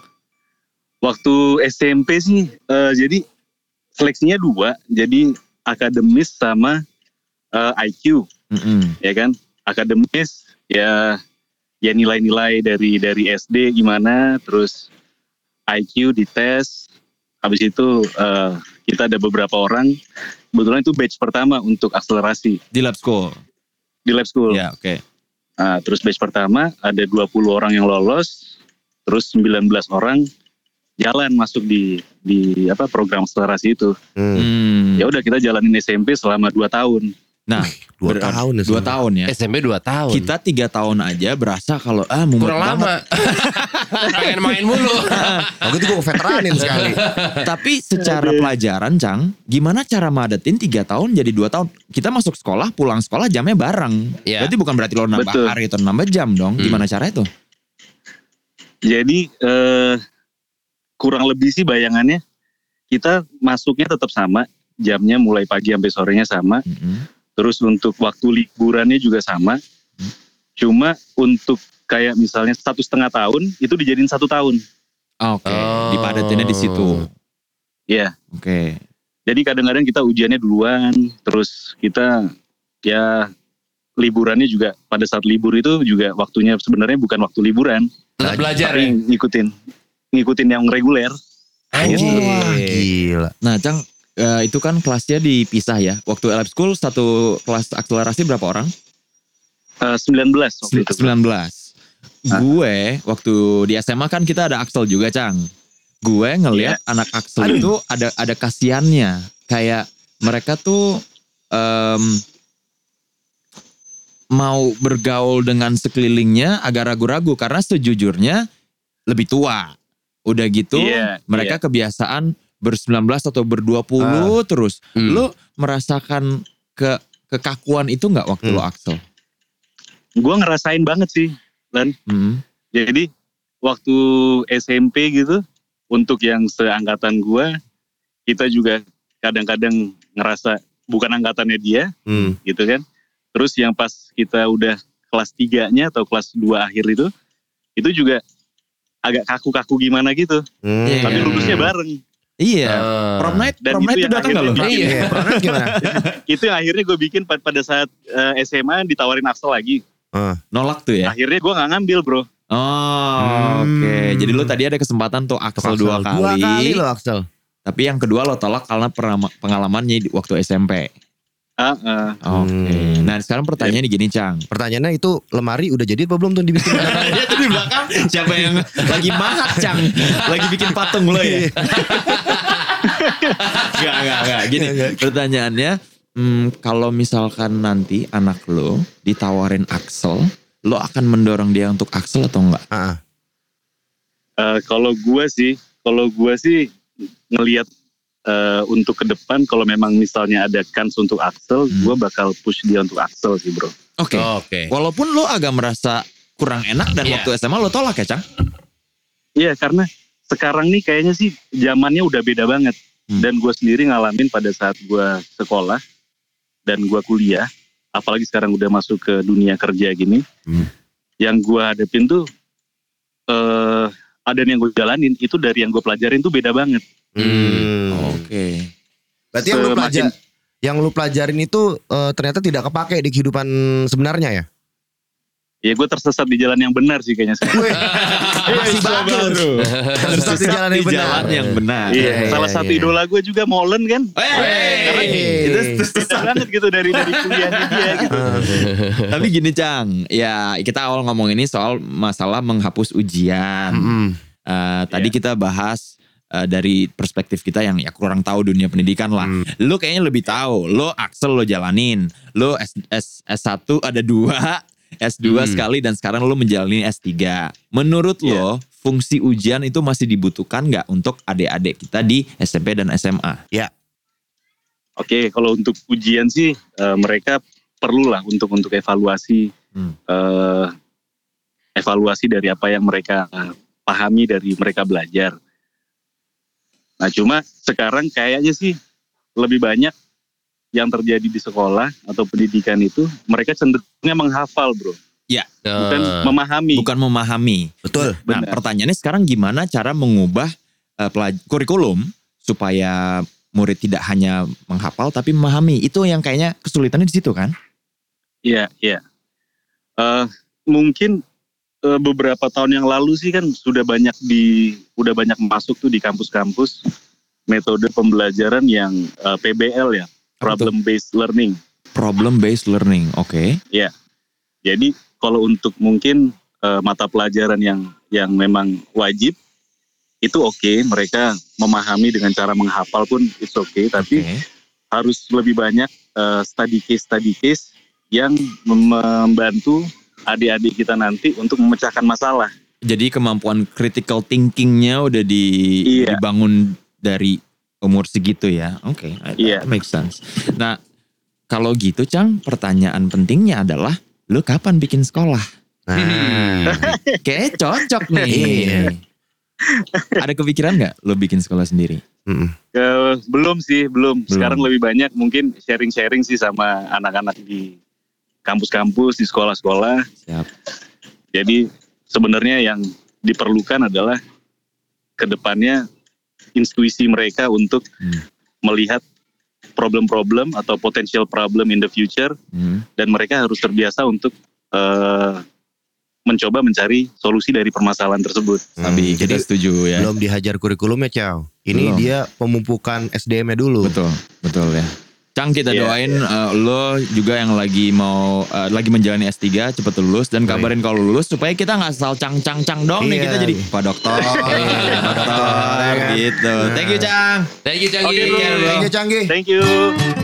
A: Waktu SMP sih, eh, jadi seleksinya dua, jadi akademis sama eh, IQ, ya kan? Akademis ya ya nilai-nilai dari dari SD gimana, terus IQ dites, habis itu eh, kita ada beberapa orang, kebetulan itu batch pertama untuk akselerasi
E: Di lab school.
A: di lab school.
E: Ya oke.
A: Nah, terus batch pertama ada 20 orang yang lolos, terus 19 orang jalan masuk di di apa program akselerasi itu.
C: Hmm.
E: Hmm.
A: Ya udah kita jalanin SMP selama 2 tahun.
E: Nah
C: Dua
E: berat-
C: tahun ya.
E: dua tahun ya.
D: SMP 2 Eh, tahun.
E: Kita tiga tahun aja berasa kalau ah mumet
D: kurang
E: banget.
D: lama. Pengen main mulu.
C: Oh, gitu gue
E: Iya.
C: veteranin sekali.
E: Tapi secara pelajaran Cang, gimana cara madetin tiga tahun jadi dua tahun? Kita masuk sekolah, pulang sekolah jamnya bareng.
D: Iya.
E: Berarti bukan berarti lo nambah
A: Betul.
E: hari atau nambah jam dong.
D: Hmm.
E: Gimana caranya tuh?
A: Jadi eh, kurang lebih sih bayangannya kita masuknya tetap sama, jamnya mulai pagi sampai sorenya sama,
E: Mm-mm.
A: terus untuk waktu liburannya juga sama. Cuma untuk kayak misalnya satu setengah tahun itu dijadiin satu tahun.
E: Oke, dipadatinnya Eh, di situ.
A: Iya.
E: Oke.
A: Jadi kadang-kadang kita ujiannya duluan, terus kita ya liburannya juga pada saat libur itu juga waktunya sebenarnya bukan waktu liburan,
D: Tetap belajar ya.
A: tapi ngikutin ngikutin yang reguler.
C: Wah, gila.
E: Nah, Cang, eh, itu kan kelasnya dipisah ya. Waktu lab school satu kelas akselerasi berapa orang?
A: Eh, 19 waktu itu.
E: 19.
A: Ah.
E: Gue waktu di SMA kan kita ada Axel juga, Cang. Gue ngelihat
A: Iya.
E: anak Axel itu ada ada kasihannya. Kayak mereka tuh em, mau bergaul dengan sekelilingnya agak ragu-ragu karena sejujurnya lebih tua. Udah gitu,
A: Iya, Ah.
E: mereka kebiasaan ber-19 atau ber-20 terus.
D: Hmm.
E: Lo merasakan ke kekakuan itu nggak waktu
C: Hmm.
E: lo Axel?
A: Gue ngerasain banget sih.
E: Hmm.
A: Jadi waktu SMP gitu untuk yang seangkatan gua kita juga kadang-kadang ngerasa bukan angkatannya dia
C: Hmm.
A: gitu kan. Terus yang pas kita udah kelas 3-nya atau kelas 2 akhir itu, itu juga agak kaku-kaku gimana gitu.
C: Hmm.
E: Iya.
A: Tapi lulusnya bareng.
E: Iya.
D: Ah.
E: Prom night,
A: Dan
E: prom
A: itu
E: night itu
A: yang
E: datang nggak lo?
A: akhirnya di-
D: Iya.
C: Iya, pernah gimana?
A: Itu yang akhirnya gue bikin pad- pada saat eh, SMA ditawarin Axel lagi.
E: Nolak tuh ya.
A: Akhirnya gue nggak ngambil bro.
E: Oh,
C: Hmm.
E: oke. Jadi lo tadi ada kesempatan tuh Axel dua kali.
C: Dua kali lo Axel.
E: Tapi yang kedua lo tolak karena pernah- pengalamannya di waktu SMP.
A: Ah, ah.
E: Oke.
C: Hmm.
E: Nah sekarang pertanyaannya gini Cang.
C: Pertanyaannya itu lemari udah jadi apa belum tuh dibikin?
E: Dia tuh di belakang siapa yang lagi mahat Cang. Lagi bikin patung lo ya. Gak, gak, gak. Gini pertanyaannya. hmm, kalau misalkan nanti anak lo ditawarin Axel. Lo akan mendorong dia untuk Axel atau enggak?
C: Heeh.
A: Eh, kalau gue sih, kalau gue sih ngelihat eh, untuk ke depan kalau memang misalnya ada kans untuk Axel,
E: Hmm.
A: gue bakal push dia untuk Axel sih bro.
E: Oke.
D: Oke.
E: Eh. Walaupun lo agak merasa kurang enak dan
D: Iya.
E: waktu SMA lo tolak ya Cang?
A: Iya karena sekarang nih kayaknya sih zamannya udah beda banget.
E: Hmm.
A: Dan gue sendiri ngalamin pada saat gue sekolah dan gue kuliah, apalagi sekarang udah masuk ke dunia kerja gini.
E: Hmm.
A: Yang gue hadapin tuh eh ada yang gue jalanin itu dari yang gue pelajarin tuh beda banget.
C: Hmm.
E: Oh.
C: Berarti yang lu
A: Semakin-
C: pelajar yang lu pelajarin itu eh, ternyata tidak kepake di kehidupan sebenarnya ya?
A: ya gue tersesat di jalan yang benar sih kayaknya sekarang.
E: Iya,
C: Masih bagus. Tersesat di jalan yang
E: Di
C: benar.
E: jalan yang benar.
A: Iya,
C: iya,
A: salah
C: iya,
A: satu
C: iya.
A: idola gue juga Molen kan.
E: Hey.
C: Hey.
E: Itu
A: Beda banget gitu dari dari kuliahnya dia gitu.
E: Tapi gini Cang, ya kita awal ngomong ini soal masalah menghapus ujian.
D: Mm-mm.
E: Eh, Tadi kita bahas eh, dari perspektif kita yang ya kurang tahu dunia pendidikan lah. Lo kayaknya lebih tahu. Lo Axel lo jalanin. Lo S, S, S1 ada dua, S2 sekali dan sekarang lo menjalani S3. Menurut lo fungsi ujian itu masih dibutuhkan nggak untuk adik-adik kita di SMP dan SMA?
A: Oke, kalau untuk ujian sih eh, mereka perlulah untuk untuk evaluasi
E: Hmm.
A: eh, evaluasi dari apa yang mereka eh, pahami dari mereka belajar. Nah, cuma sekarang kayaknya sih lebih banyak yang terjadi di sekolah atau pendidikan itu mereka cenderungnya menghafal, Bro, bukan
D: Eh,
A: memahami.
E: Bukan memahami.
C: Betul.
E: Nah,
A: Benar.
E: pertanyaannya sekarang gimana cara mengubah eh, pelaj- kurikulum supaya murid tidak hanya menghafal tapi memahami. Itu yang kayaknya kesulitannya di situ kan?
A: Iya, iya. Eh, mungkin eh, beberapa tahun yang lalu sih kan sudah banyak di udah banyak masuk tuh di kampus-kampus metode pembelajaran yang eh, PBL ya,
E: Apa tuh?
A: problem based learning.
E: Problem based learning. Oke.
A: Jadi kalau untuk mungkin eh, mata pelajaran yang yang memang wajib itu oke, mereka memahami dengan cara menghafal pun it's okay, tapi
E: Oke.
A: harus lebih banyak eh, study case study case yang mem- membantu adik-adik kita nanti untuk memecahkan masalah.
E: Jadi kemampuan critical thinkingnya udah di-
A: Iya.
E: dibangun dari umur segitu ya. Oke. that
A: Iya.
E: Makes sense. Nah, kalau gitu Cang, pertanyaan pentingnya adalah lu kapan bikin sekolah?
C: Nah,
E: Kayaknya cocok nih.
C: Iya.
E: Ada kepikiran nggak lo bikin sekolah sendiri?
C: Mm-mm.
A: Eh, belum sih, belum.
E: Belum.
A: Sekarang lebih banyak mungkin sharing-sharing sih sama anak-anak di kampus-kampus, di sekolah-sekolah.
E: Siap.
A: Jadi sebenarnya yang diperlukan adalah kedepannya intuisi mereka untuk
E: Hmm.
A: melihat problem-problem atau potential problem in the future
E: Hmm.
A: dan mereka harus terbiasa untuk eh, mencoba mencari solusi dari permasalahan tersebut.
C: Hmm,
E: Tapi kita setuju ya.
C: belum dihajar kurikulumnya, Ciao. Ini
E: Belum.
C: dia pemumpukan SDM-nya dulu.
E: Betul, betul ya. Cang kita
A: Iya,
E: doain uh, lo juga yang lagi mau uh, lagi menjalani S3 cepet lulus dan
C: Baik.
E: kabarin kalau lulus supaya kita nggak asal cang-cang-cang dong nih
C: Iya.
E: kita jadi Pak Dokter, Pak
C: Dokter,
E: Dokter
C: ya. Nah.
E: gitu. Thank you Cang.
D: Thank you Canggi.
A: Oke, bro.
D: Iya,
E: Take care, bro.
C: iya. Thank you, Canggih.
A: Thank you.